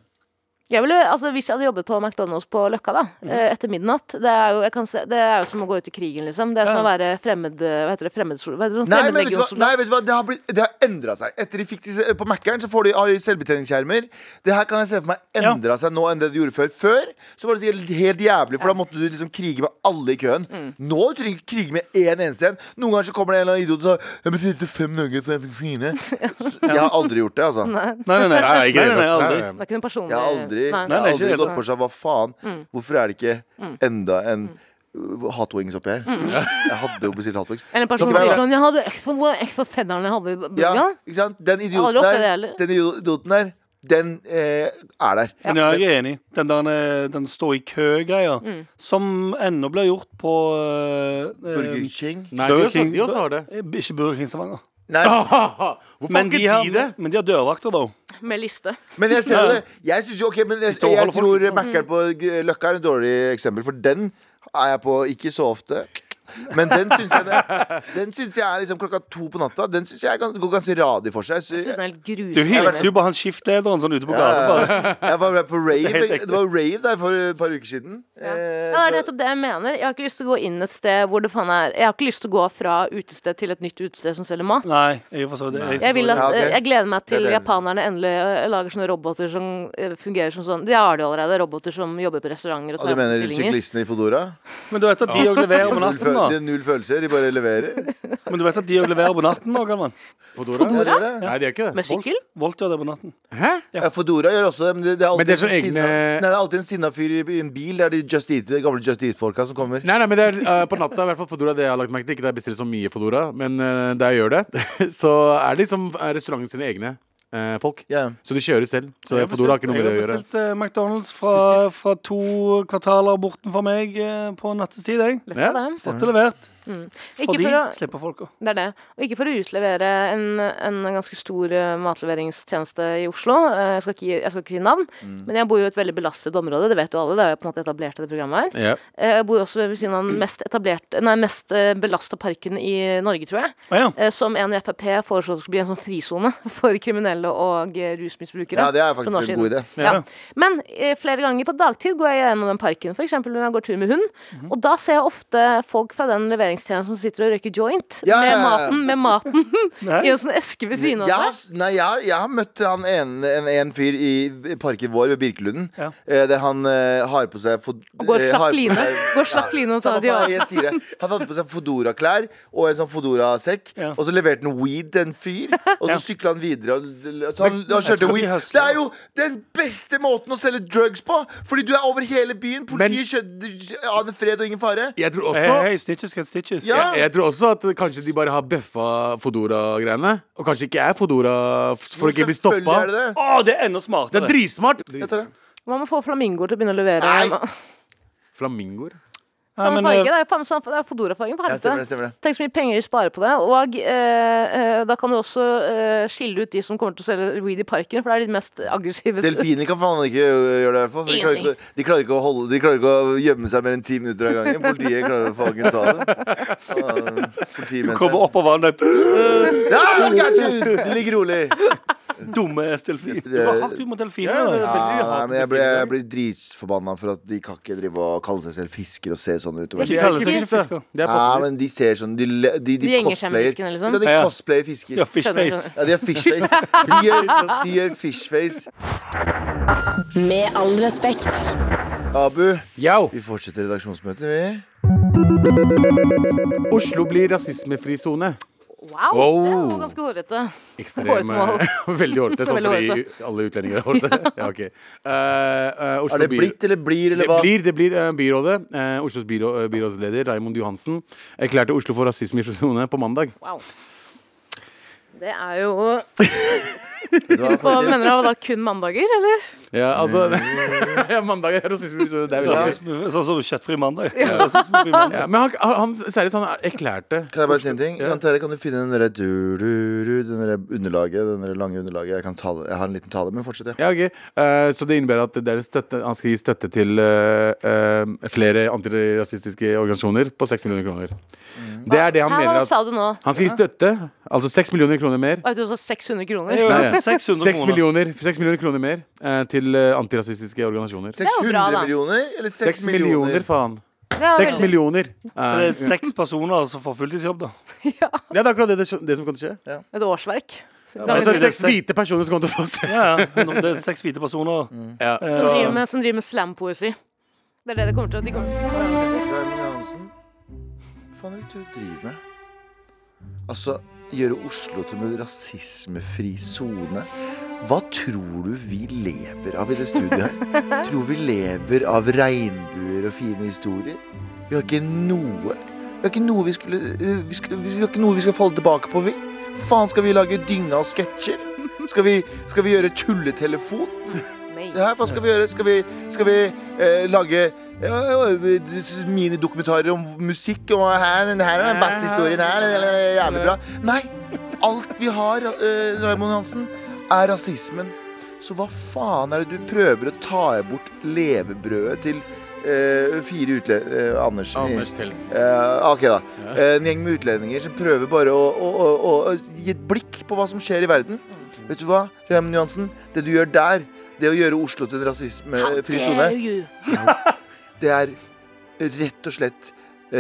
[SPEAKER 2] Jeg ville, altså, hvis jeg hadde jobbet på McDonald's på Løkka da,
[SPEAKER 3] Mm.
[SPEAKER 2] eh, etter midnatt det er, jo, jeg kan se, det er jo som å gå ut i krigen, liksom. Det er som
[SPEAKER 4] Ja.
[SPEAKER 2] å være fremmed... eh, Hva heter det? Fremmedsoldat? Hva heter det? Sånn
[SPEAKER 3] Nei, men vet du hva?
[SPEAKER 2] fremmedlegionsoldat.
[SPEAKER 3] Nei, vet du hva? Det har, blitt, det har endra seg. Etter de fikk disse, på Mac-eren, så får de, har de selvbetjeningsskjermer. Det her kan jeg se for meg endra seg nå enn det de gjorde før. Før så var det sikkert helt jævlig, for da måtte du liksom krige med alle i køen.
[SPEAKER 2] Mm.
[SPEAKER 3] Nå trenger du ikke krige med én eneste en. Noen ganger så kommer det en eller annen idiot og sier 'Jeg bestilte fem nuggets, og jeg fikk fire'. Så Jeg har aldri gjort det, altså.
[SPEAKER 4] Nei, nei, nei.
[SPEAKER 5] Nei, ikke
[SPEAKER 4] nei, nei, nei aldri.
[SPEAKER 5] Nei, nei.
[SPEAKER 2] Det er ikke noen personlig
[SPEAKER 3] Jeg har aldri,
[SPEAKER 2] Nei. Mm.
[SPEAKER 3] jeg har
[SPEAKER 4] Nei, det er
[SPEAKER 3] aldri
[SPEAKER 4] ikke det, altså.
[SPEAKER 3] gått for seg hva faen. Hvorfor er det ikke enda en uh, hot wings oppi her? Jeg hadde jo bestilt hot wings.
[SPEAKER 2] Mm. Eller en person
[SPEAKER 3] Så-
[SPEAKER 2] som sier sånn Jeg hadde ekstra, hvor er ekstra fenneren jeg hadde i
[SPEAKER 3] Ja,
[SPEAKER 2] burgeren.
[SPEAKER 3] ikke sant? Den
[SPEAKER 2] Aldri
[SPEAKER 3] idioten
[SPEAKER 2] opplevd det
[SPEAKER 3] der,
[SPEAKER 2] heller.
[SPEAKER 3] den idioten der, den eh, er der.
[SPEAKER 4] Men jeg er enig. Den der eh, den stå i kø-greia,
[SPEAKER 2] Mm.
[SPEAKER 4] som ennå blir gjort på eh,
[SPEAKER 3] Burger King.
[SPEAKER 5] Nei, de
[SPEAKER 4] Burger
[SPEAKER 5] også-
[SPEAKER 4] King-
[SPEAKER 5] de også har det.
[SPEAKER 4] eh, Ikke Burger King Stavanger.
[SPEAKER 3] Nei,
[SPEAKER 5] Hvorfor har
[SPEAKER 4] Men de
[SPEAKER 5] ikke
[SPEAKER 4] har,
[SPEAKER 5] de det?
[SPEAKER 4] men de har dørvakter, da.
[SPEAKER 2] Med liste.
[SPEAKER 3] men jeg ser jo det. Jeg synes jo, ok, men jeg,
[SPEAKER 4] står og
[SPEAKER 3] jeg
[SPEAKER 4] holder folk.
[SPEAKER 3] tror
[SPEAKER 2] Mm.
[SPEAKER 3] Mækkern på G- Løkka er et dårlig eksempel, for den er jeg på ikke så ofte. Men den syns jeg, det, den synes jeg er liksom klokka to på natta. Den syns jeg gans- går ganske radig for seg. Så
[SPEAKER 2] Jeg synes
[SPEAKER 3] jeg,
[SPEAKER 2] den er helt
[SPEAKER 4] Du hilser
[SPEAKER 2] grusom.
[SPEAKER 4] jo på han skiftlederen sånn ute på
[SPEAKER 3] ja,
[SPEAKER 4] gata. bare.
[SPEAKER 3] ja. jeg var på rave
[SPEAKER 4] helt ekte.
[SPEAKER 3] Det var rave der for et par uker siden.
[SPEAKER 2] Ja. ja,
[SPEAKER 3] Eh,
[SPEAKER 2] det er
[SPEAKER 3] så-
[SPEAKER 2] nettopp det jeg mener. Jeg har ikke lyst til å gå inn et sted hvor det faen er Jeg har ikke lyst til å gå fra utested til et nytt utested som selger mat.
[SPEAKER 4] Nei, jeg forstår det.
[SPEAKER 2] Jeg, vil at,
[SPEAKER 3] Ja, ok.
[SPEAKER 2] jeg gleder meg til
[SPEAKER 3] Det er det.
[SPEAKER 2] japanerne endelig eh, lager sånne roboter som eh, fungerer som sånn. De har det allerede, roboter som jobber på restauranter og
[SPEAKER 3] Og du
[SPEAKER 2] tar
[SPEAKER 3] mener
[SPEAKER 2] bestillinger.
[SPEAKER 3] syklistene i Fodora?
[SPEAKER 4] Men du vet at de òg leverer på
[SPEAKER 3] Null
[SPEAKER 4] natten,
[SPEAKER 3] føl- Det
[SPEAKER 4] da.
[SPEAKER 3] er null følelser, de bare leverer.
[SPEAKER 4] Men du vet at de også leverer på natten nå, Galvan.
[SPEAKER 5] Fodora?
[SPEAKER 3] Ja, det er det.
[SPEAKER 5] Nei, de gjør ikke det.
[SPEAKER 2] Med sykkel?
[SPEAKER 4] Volt gjør det på natten.
[SPEAKER 5] Hæ?
[SPEAKER 3] Ja, Fodora gjør også det, men det, det er alltid,
[SPEAKER 5] Men det er sånn
[SPEAKER 3] en sinna-
[SPEAKER 5] egne-
[SPEAKER 3] Nei, det er alltid en sinna fyr i i en bil. Det er de Just Eat, de gamle Just Eat-folka som kommer.
[SPEAKER 5] Nei, nei, men det er eh, på natta, i hvert fall Fodora, det jeg har lagt merke til. Ikke det jeg bestiller så mye Fodora, men eh, da jeg gjør det, så er det liksom eh, restauranten sine egne. eh, folk.
[SPEAKER 3] Ja.
[SPEAKER 5] Så de kjører selv. Så
[SPEAKER 4] Jeg har
[SPEAKER 5] Fodora har ikke noe med det å
[SPEAKER 4] bestilt- Jeg
[SPEAKER 5] gjøre.
[SPEAKER 4] har bestilt eh, McDonald's fra, fra to kvartaler bortenfor meg eh, på nattestid. Jeg.
[SPEAKER 5] Ja.
[SPEAKER 2] Det.
[SPEAKER 4] Fått det levert.
[SPEAKER 5] Mm.
[SPEAKER 2] Ikke
[SPEAKER 4] Fordi
[SPEAKER 2] for å,
[SPEAKER 4] slipper folka.
[SPEAKER 2] det er det. Og ikke for å utlevere en, en ganske stor eh, matleveringstjeneste i Oslo. Eh, Jeg skal ikke, gi- jeg skal ikke si navn,
[SPEAKER 3] Mm.
[SPEAKER 2] men jeg bor jo i et veldig belastet område. Det vet jo alle. Det er jo på en måte etablert i det programmet her.
[SPEAKER 5] Ja.
[SPEAKER 2] Eh, Jeg bor også ved siden av den mest, etablerte- nei, mest belasta parken i Norge, tror jeg.
[SPEAKER 4] Å ja.
[SPEAKER 2] eh, Som en i Frp foreslo skulle bli en sånn frisone for kriminelle og eh, rusmisbrukere.
[SPEAKER 3] Ja, det er
[SPEAKER 2] for
[SPEAKER 3] faktisk
[SPEAKER 2] noen år
[SPEAKER 3] en
[SPEAKER 2] siden.
[SPEAKER 3] god idé.
[SPEAKER 2] Ja. Men eh, flere ganger på dagtid går jeg gjennom den parken, f.eks. når jeg går tur med hund.
[SPEAKER 3] Mhm.
[SPEAKER 2] Og da ser jeg ofte folk fra den leveringstjenesten som sitter og røyker joint
[SPEAKER 3] Ja,
[SPEAKER 2] med
[SPEAKER 3] ja, ja.
[SPEAKER 2] maten, med maten i en sånn eske ved siden av
[SPEAKER 3] Jeg har,
[SPEAKER 2] seg.
[SPEAKER 3] nei, jeg, har- jeg har møtt han en, en, en fyr i parken vår ved Birkelunden.
[SPEAKER 4] Ja.
[SPEAKER 3] eh, Der han eh, har på seg fod-
[SPEAKER 2] Og går
[SPEAKER 3] eh,
[SPEAKER 2] slakk
[SPEAKER 3] har på
[SPEAKER 2] line.
[SPEAKER 3] seg-
[SPEAKER 2] Går slakk line og tar
[SPEAKER 3] samme
[SPEAKER 2] de av.
[SPEAKER 3] faen, jeg sier det. Han hadde på seg Fodora-klær og en sånn Fodora-sekk.
[SPEAKER 4] Ja.
[SPEAKER 3] Og så leverte han weed til en fyr, og så sykla han videre. Og, så han,
[SPEAKER 4] Men-
[SPEAKER 3] han
[SPEAKER 4] Jeg
[SPEAKER 3] kjørte
[SPEAKER 4] tror de
[SPEAKER 3] weed.
[SPEAKER 4] høsler.
[SPEAKER 3] Det er jo den beste måten å selge drugs på! Fordi du er over hele byen. Politiet kjø- aner fred og ingen fare.
[SPEAKER 5] Jeg tror
[SPEAKER 4] Hei,
[SPEAKER 5] også
[SPEAKER 4] hei, stitches get stitches.
[SPEAKER 3] Ja.
[SPEAKER 5] Jeg tror også at kanskje de bare har bøffa Fodora-greiene. Og kanskje ikke er Fodora for å ikke bli
[SPEAKER 3] Selvfølgelig
[SPEAKER 5] stoppa.
[SPEAKER 3] er det det.
[SPEAKER 4] Å, det er enda
[SPEAKER 5] Det
[SPEAKER 4] smartere.
[SPEAKER 5] er dritsmart!
[SPEAKER 3] Jeg tar det.
[SPEAKER 2] Man må få flamingoer til å begynne å levere.
[SPEAKER 3] Nei.
[SPEAKER 5] Flamingoer.
[SPEAKER 4] Nei,
[SPEAKER 2] Samme
[SPEAKER 4] men,
[SPEAKER 2] farge,
[SPEAKER 4] eh,
[SPEAKER 2] det er, jo faen- samme- det er Fodora-fargen på
[SPEAKER 3] Ja, stemmer det,
[SPEAKER 2] helvete.
[SPEAKER 3] stemmer det.
[SPEAKER 2] Tenk så mye penger de sparer på det. Og eh, eh, da kan du også eh, skille ut de som kommer til å selge weed i parken, for det er de mest aggressive.
[SPEAKER 3] Delfiner kan faen ikke gjøre det. i hvert fall, For de, klarer ikke, å- de, klarer ikke å holde, de klarer ikke å gjemme seg mer enn ti minutter av gangen. Politiet klarer faen ikke å ta det. Faen,
[SPEAKER 4] Kommer
[SPEAKER 3] Politimesteren.
[SPEAKER 4] opp av vannet.
[SPEAKER 3] Ja, I got you! De ligger rolig.
[SPEAKER 4] Dumme ass delfin.
[SPEAKER 3] Det-
[SPEAKER 4] Det var hardt ut mot delfiner.
[SPEAKER 5] Ja, det-
[SPEAKER 4] da.
[SPEAKER 3] Ja, nei, men jeg blir,
[SPEAKER 5] delfiner.
[SPEAKER 3] jeg blir dritforbanna for at de kan ikke drive og kalle seg selv fisker og se sånn ut.
[SPEAKER 4] De
[SPEAKER 5] De
[SPEAKER 4] kaller
[SPEAKER 5] er
[SPEAKER 4] seg
[SPEAKER 5] ikke
[SPEAKER 4] ikke
[SPEAKER 5] fisker.
[SPEAKER 4] fisker.
[SPEAKER 5] De er
[SPEAKER 3] Ja,
[SPEAKER 5] potter.
[SPEAKER 3] men de ser sånn De, le- de, de,
[SPEAKER 2] De henger seg med
[SPEAKER 3] cosplayer.
[SPEAKER 2] fiskene, liksom?
[SPEAKER 3] Ja, de
[SPEAKER 4] Ja.
[SPEAKER 3] cosplayer fisker.
[SPEAKER 4] Ja,
[SPEAKER 2] Skjønner,
[SPEAKER 4] fishface.
[SPEAKER 2] skjønner.
[SPEAKER 3] Ja, de har fishface. De gjør, de gjør fishface.
[SPEAKER 1] Med all respekt.
[SPEAKER 3] Abu,
[SPEAKER 5] Yo.
[SPEAKER 3] vi fortsetter redaksjonsmøtet, vi.
[SPEAKER 5] Oslo blir rasismefri sone.
[SPEAKER 2] Wow, det
[SPEAKER 5] Oh.
[SPEAKER 2] var ganske hårete. Hårete mål.
[SPEAKER 5] Veldig hårete, sånn
[SPEAKER 2] Veldig
[SPEAKER 5] fordi alle utlendinger er hårete. Ja, ok. Eh, eh, Oslo
[SPEAKER 3] Er det
[SPEAKER 5] byr-
[SPEAKER 3] blitt eller blir
[SPEAKER 5] Det
[SPEAKER 3] eller hva?
[SPEAKER 5] blir, det blir eh, byrådet. eh, Oslos byrå, eh, byrådsleder Raimond Johansen erklærte Oslo for rasismefri sone på mandag.
[SPEAKER 2] Wow. Det er jo
[SPEAKER 3] Det var
[SPEAKER 2] Hva
[SPEAKER 3] faktisk-
[SPEAKER 2] mener du? Var det kun mandager, eller?
[SPEAKER 5] Ja, altså ja, Mandag er rasismefri sone. Det er veldig rart.
[SPEAKER 4] Rasisme- Sånn som kjøttfri mandag. Rasismefri mandag.
[SPEAKER 5] ja, Men han, han, seriøst, han erklærte
[SPEAKER 3] Kan jeg bare si en ting? Jan Terje, kan du finne den derre du, du, du, den derre underlaget, den derre lange underlaget? Jeg, kan tale, jeg har en liten tale, men fortsett, ja.
[SPEAKER 5] Ja, ok. Eh, så det innebærer at det er støtte, han skal gi støtte til eh, eh, flere antirasistiske organisasjoner på 6 millioner kroner. Det er det han
[SPEAKER 2] Hæ,
[SPEAKER 5] mener
[SPEAKER 2] hva Mm.
[SPEAKER 5] at
[SPEAKER 2] sa du nå?
[SPEAKER 5] Han skal gi støtte, altså 6 millioner kroner mer.
[SPEAKER 2] Hva heter det, så 600
[SPEAKER 4] Det er jo
[SPEAKER 2] kroner?
[SPEAKER 5] Nei.
[SPEAKER 4] 600
[SPEAKER 5] 6
[SPEAKER 4] kroner.
[SPEAKER 5] millioner, 6 millioner kroner mer eh, til eh, antirasistiske organisasjoner.
[SPEAKER 2] er jo
[SPEAKER 3] 600
[SPEAKER 2] bra, da.
[SPEAKER 3] millioner? Eller 6,
[SPEAKER 5] 6 millioner, faen.
[SPEAKER 2] Det er
[SPEAKER 5] 6
[SPEAKER 2] veldig-
[SPEAKER 5] millioner.
[SPEAKER 4] Så
[SPEAKER 5] Eh,
[SPEAKER 4] det er seks personer som får fulltidsjobb, da.
[SPEAKER 5] ja, det er akkurat det, det, det som kommer til å skje.
[SPEAKER 2] Et årsverk.
[SPEAKER 4] men
[SPEAKER 5] Altså
[SPEAKER 4] det er
[SPEAKER 5] seks
[SPEAKER 4] seks-
[SPEAKER 5] hvite personer som kommer til å få se.
[SPEAKER 4] Ja, ja. Det er seks hvite personer.
[SPEAKER 5] Ja.
[SPEAKER 2] Som driver med, som driver med slampoesi. Det er det det kommer til å de kommer.
[SPEAKER 3] Hansen, hva faen er det du driver med? Altså, gjøre Oslo til en rasismefri sone? Hva tror du vi lever av i det studioet her? tror vi lever av regnbuer og fine historier? Vi har ikke noe Vi har ikke noe vi skulle eh, Vi, skulle, vi har ikke noe vi skal falle tilbake på, vi. Faen, skal vi lage dynga og sketsjer? Skal vi, skal vi gjøre tulletelefon?
[SPEAKER 2] Nei.
[SPEAKER 3] Se her, hva skal vi gjøre? Skal vi, skal vi eh, lage ja, ja, minidokumentarer om musikk? Og her, den her er basshistorien her. eller- eller Jævlig bra. Nei. Alt vi har, eh, Raymond Hansen, er rasismen. Så hva faen er det du prøver å ta bort levebrødet til eh, fire utle... Eh, Andersen. i-
[SPEAKER 5] Anders Tels.
[SPEAKER 3] Eh, ok, da. Eh, en gjeng med utlendinger som prøver bare å, å, å, å, å gi et blikk på hva som skjer i verden.
[SPEAKER 5] Mm.
[SPEAKER 3] Vet du hva, Raymond Johansen? Det du gjør der, det å gjøre Oslo til en rasismefri sone,
[SPEAKER 2] you?
[SPEAKER 3] det er rett og slett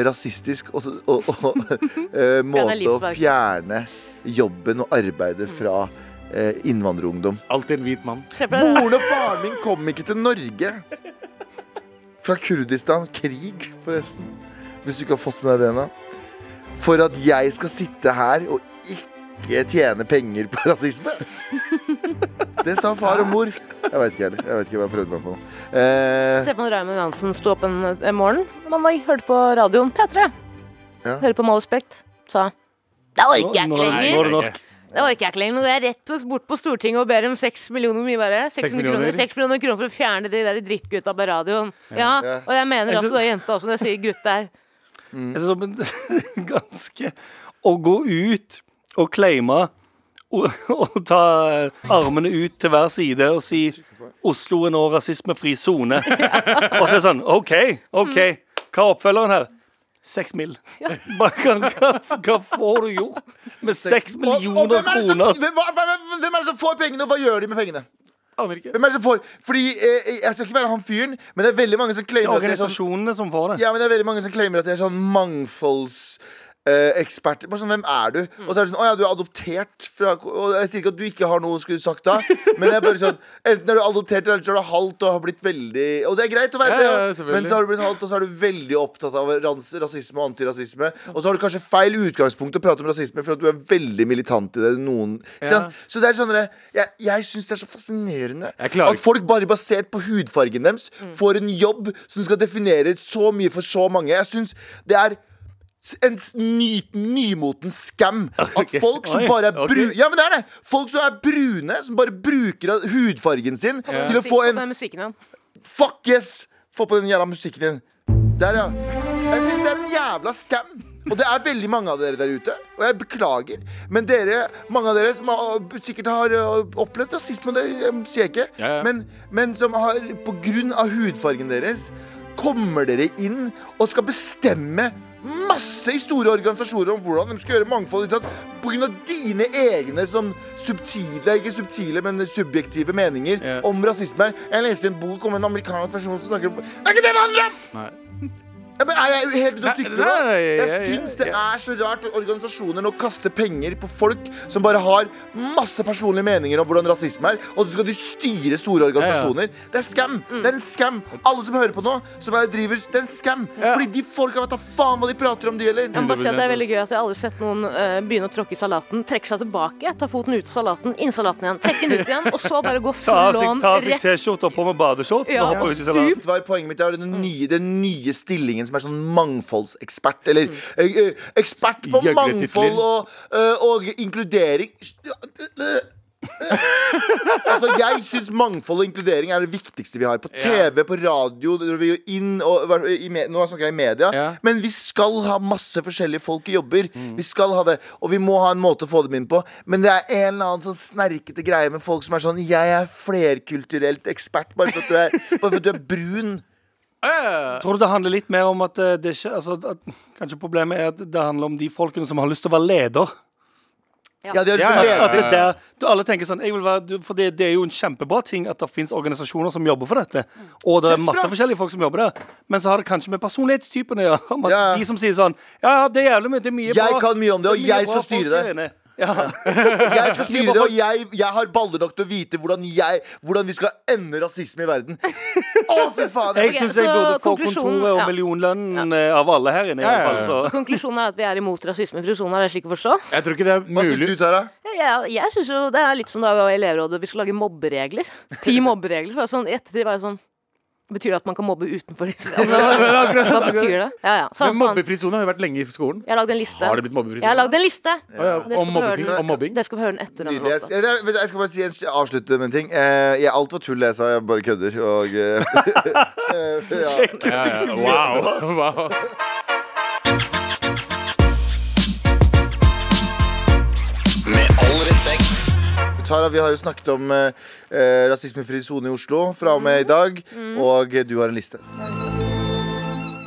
[SPEAKER 3] rasistisk og, og, og eh, måte å
[SPEAKER 2] livsverk.
[SPEAKER 3] fjerne jobben og arbeidet fra eh, innvandrerungdom.
[SPEAKER 5] Alltid en hvit mann.
[SPEAKER 2] Se på det.
[SPEAKER 3] Moren og faren min kom ikke til Norge. Fra Kurdistan. Krig, forresten. Hvis du ikke har fått med deg det ennå. For at jeg skal sitte her og ikke tjene penger på rasisme. Det sa far og mor. Jeg veit ikke heller. Jeg vet ikke hva jeg prøvde meg på nå. Eh,
[SPEAKER 2] Se på Raymond Johansen stå opp en, en morgen mandag, hørte på radioen P3.
[SPEAKER 3] Ja.
[SPEAKER 2] Hører på Med all respekt. Sa Det orker jeg ikke
[SPEAKER 4] Nå- nå-
[SPEAKER 2] lenger.
[SPEAKER 4] Nå er det nok.
[SPEAKER 2] Det Det orker jeg ikke lenger. Nå går jeg rett og- bort på Stortinget og ber om 6 millioner mye bare. 600
[SPEAKER 5] millioner.
[SPEAKER 2] kroner, 6 millioner kroner for å fjerne de der drittgutta på radioen. Ja,
[SPEAKER 3] Ja.
[SPEAKER 2] Og jeg mener
[SPEAKER 4] Jeg
[SPEAKER 2] også
[SPEAKER 4] synes-
[SPEAKER 2] det er jenta også når jeg sier gutt der.
[SPEAKER 4] Jeg synes det er ganske Å gå ut og claime og, og ta armene ut til hver side og si 'Oslo er nå rasismefri sone'. Og så er det sånn OK, OK. Hva er oppfølgeren her? Seks mil. Hva, kan- hva, hva får du gjort med seks
[SPEAKER 3] Og- og
[SPEAKER 4] millioner
[SPEAKER 3] hvem er det som-
[SPEAKER 4] kroner?
[SPEAKER 3] Hvem, hva- hva- hvem er det som får pengene, og hva gjør de med pengene?
[SPEAKER 5] Aner ikke.
[SPEAKER 3] Hvem er det som får? Fordi eh, Jeg skal ikke være han fyren, men det er veldig mange som
[SPEAKER 4] Det er
[SPEAKER 3] claimer at de er sånn,
[SPEAKER 4] Organisasjonene som får det.
[SPEAKER 3] ja, men det er veldig mange som claimer at de er sånn mangfoldseksperter. Bare sånn, Hvem er du? Og så er det sånn Å ja, du er adoptert fra Og jeg sier ikke at du ikke har noe å skulle sagt da, men det er bare sånn Enten er du adoptert, eller så er du halvt og har blitt veldig Og det er greit å være
[SPEAKER 5] Ja,
[SPEAKER 3] det,
[SPEAKER 5] ja,
[SPEAKER 3] ja.
[SPEAKER 5] selvfølgelig.
[SPEAKER 3] men så har du blitt halvt, og så er du veldig opptatt av rans, rasisme og antirasisme. Og så har du kanskje feil utgangspunkt å prate om rasisme, for at du er veldig militant i det. Noen, ikke
[SPEAKER 5] Ja.
[SPEAKER 3] sant? Så det er sånn dere, Jeg, jeg syns det er så fascinerende
[SPEAKER 5] Jeg Mm. klarer
[SPEAKER 3] at
[SPEAKER 5] ikke.
[SPEAKER 3] folk bare basert på hudfargen deres får en jobb som skal definere så mye for så mange. Jeg syns det er en s- ny, nymoten scam. At folk som
[SPEAKER 4] Oi,
[SPEAKER 3] bare er
[SPEAKER 5] ok.
[SPEAKER 3] bru... Ja, men det er det! Folk som er brune, som bare bruker hudfargen sin til å
[SPEAKER 2] Musikk
[SPEAKER 3] få
[SPEAKER 2] på
[SPEAKER 3] en
[SPEAKER 2] den musikken igjen.
[SPEAKER 3] Fuck yes! Få på den jævla musikken din. Der, ja. Jeg syns det er en jævla scam. Og det er veldig mange av dere der ute, og jeg beklager. Men dere, mange av dere som har, sikkert har ø, opplevd rasisme, det ø, sier jeg ikke,
[SPEAKER 5] Ja, ja.
[SPEAKER 3] Men, men som har på grunn av hudfargen deres kommer dere inn og skal bestemme masse i store organisasjoner om hvordan de skal gjøre mangfold utad på grunn av dine egne som subtile, ikke subtile, men subjektive meninger
[SPEAKER 5] Ja.
[SPEAKER 3] om rasisme. her. Jeg leste en bok om en amerikansk person som snakker om Det er ikke det det handler om!
[SPEAKER 5] Nei.
[SPEAKER 3] Ja, men er jeg helt ute
[SPEAKER 5] Nei,
[SPEAKER 3] og sykler
[SPEAKER 5] nei,
[SPEAKER 3] nå?
[SPEAKER 5] nei,
[SPEAKER 3] Jeg
[SPEAKER 5] jeg-
[SPEAKER 3] syns
[SPEAKER 5] jeg-
[SPEAKER 3] det er så rart at organisasjoner nå kaster penger på folk som bare har masse personlige meninger om hvordan rasisme er, og så skal de styre store organisasjoner. Det er scam.
[SPEAKER 5] Mm.
[SPEAKER 3] Det er en scam. Alle som hører på nå, som er driver, det er en scam. Fordi de folka vet da faen hva de prater om, de
[SPEAKER 2] Jeg må
[SPEAKER 3] gjelder.
[SPEAKER 2] bare si at Det er veldig gøy at jeg aldri har sett noen eh, begynne å tråkke i salaten, trekke seg tilbake, ta foten ut av salaten, inn i salaten igjen, trekke den ut igjen, og så bare gå
[SPEAKER 4] Ta
[SPEAKER 2] full
[SPEAKER 4] av seg,
[SPEAKER 2] on
[SPEAKER 4] ta av seg
[SPEAKER 2] rett
[SPEAKER 4] T-skjorta og på med badeshorts
[SPEAKER 2] Ja.
[SPEAKER 4] og hoppe ut i salaten.
[SPEAKER 2] Stup.
[SPEAKER 3] Det var poenget mitt. Det er den
[SPEAKER 5] Mm.
[SPEAKER 3] nye, den nye stillingen som er sånn mangfoldsekspert. Eller
[SPEAKER 5] Mm.
[SPEAKER 3] eh, eh, ekspert på
[SPEAKER 5] Gjøgletitler.
[SPEAKER 3] mangfold og, eh, og inkludering. altså, jeg syns mangfold og inkludering er det viktigste vi har. På TV, på radio, når vi går inn og, i, me- Nå snakker jeg i media.
[SPEAKER 5] Ja.
[SPEAKER 3] Men vi skal ha masse forskjellige folk i jobber. Vi skal ha det, Og vi må ha en måte å få dem inn på. Men det er en eller annen sånn snerkete greie med folk som er sånn Jeg er flerkulturelt ekspert bare for at du er, bare for at du er brun.
[SPEAKER 5] Øh,
[SPEAKER 4] Tror du det handler litt mer om at eh, det ikke altså, at, Kanskje problemet er at det handler om de folkene som har lyst til å være leder.
[SPEAKER 3] Ja, de har lyst til å
[SPEAKER 5] Ja, ja, ja.
[SPEAKER 3] leve.
[SPEAKER 4] At det er der, du, alle tenker sånn jeg vil være, du, For det, det er jo en kjempebra ting at det finnes organisasjoner som jobber for dette. Og det er masse forskjellige folk som jobber der. Men så har det kanskje med personlighetstypene å gjøre. om at
[SPEAKER 3] Ja, ja.
[SPEAKER 4] De som sier sånn Ja, ja, det er jævlig mye, det er mye
[SPEAKER 3] Jeg
[SPEAKER 4] bra.
[SPEAKER 3] kan mye om det, og
[SPEAKER 4] er mye
[SPEAKER 3] jeg
[SPEAKER 4] bra
[SPEAKER 3] skal styre
[SPEAKER 4] folk
[SPEAKER 3] det.
[SPEAKER 4] der inne. Ja.
[SPEAKER 3] Jeg skal styre det, og jeg, jeg har baller nok til å vite hvordan, jeg, hvordan vi skal ende rasisme i verden. Å, fy faen!
[SPEAKER 4] Jeg
[SPEAKER 2] Ok,
[SPEAKER 4] syns
[SPEAKER 2] så
[SPEAKER 4] jeg burde få
[SPEAKER 2] konklusjonen-
[SPEAKER 4] kontoret og
[SPEAKER 2] ja.
[SPEAKER 4] millionlønnen eh, av alle her inne. i
[SPEAKER 5] Ja, ja,
[SPEAKER 4] hvert
[SPEAKER 5] ja.
[SPEAKER 4] fall, så.
[SPEAKER 2] Konklusjonen er at vi er imot rasisme i frisonen, er det slik å forstå?
[SPEAKER 5] jeg tror ikke det er
[SPEAKER 3] Hva syns
[SPEAKER 5] mulig.
[SPEAKER 3] du, Tara?
[SPEAKER 2] Jeg, jeg synes jo Det er litt som da vi var i elevrådet vi skulle lage mobberegler. Ti mobberegler. Så var jeg sånn, I ettertid var jeg sånn Betyr det at man kan mobbe utenfor disse? Altså, hva, hva betyr det? Ja, ja.
[SPEAKER 5] Men
[SPEAKER 2] Samme faen.
[SPEAKER 5] mobbefri sone har jo vært lenge i skolen.
[SPEAKER 2] Jeg har lagd en liste.
[SPEAKER 5] Har det blitt mobbefri
[SPEAKER 2] Jeg har
[SPEAKER 5] sone?
[SPEAKER 2] lagd en liste!
[SPEAKER 5] Å ja,
[SPEAKER 2] Dere skal
[SPEAKER 5] Om
[SPEAKER 2] få høre
[SPEAKER 5] mobbefri-
[SPEAKER 2] den.
[SPEAKER 5] om mobbing?
[SPEAKER 2] Dere skal få høre den etter denne
[SPEAKER 3] Nydelig. Jeg,
[SPEAKER 2] låta.
[SPEAKER 3] jeg, jeg, jeg skal bare si en, avslutte med en ting. Eh, jeg, alt var tull, jeg sa. Jeg bare kødder. Og eh, eh, ja.
[SPEAKER 5] Ja, ja. Wow. wow.
[SPEAKER 6] Med all respekt.
[SPEAKER 3] Tara, vi har jo snakket om eh, eh, rasismefri sone i Oslo fra og med i dag. Og eh, du har en liste.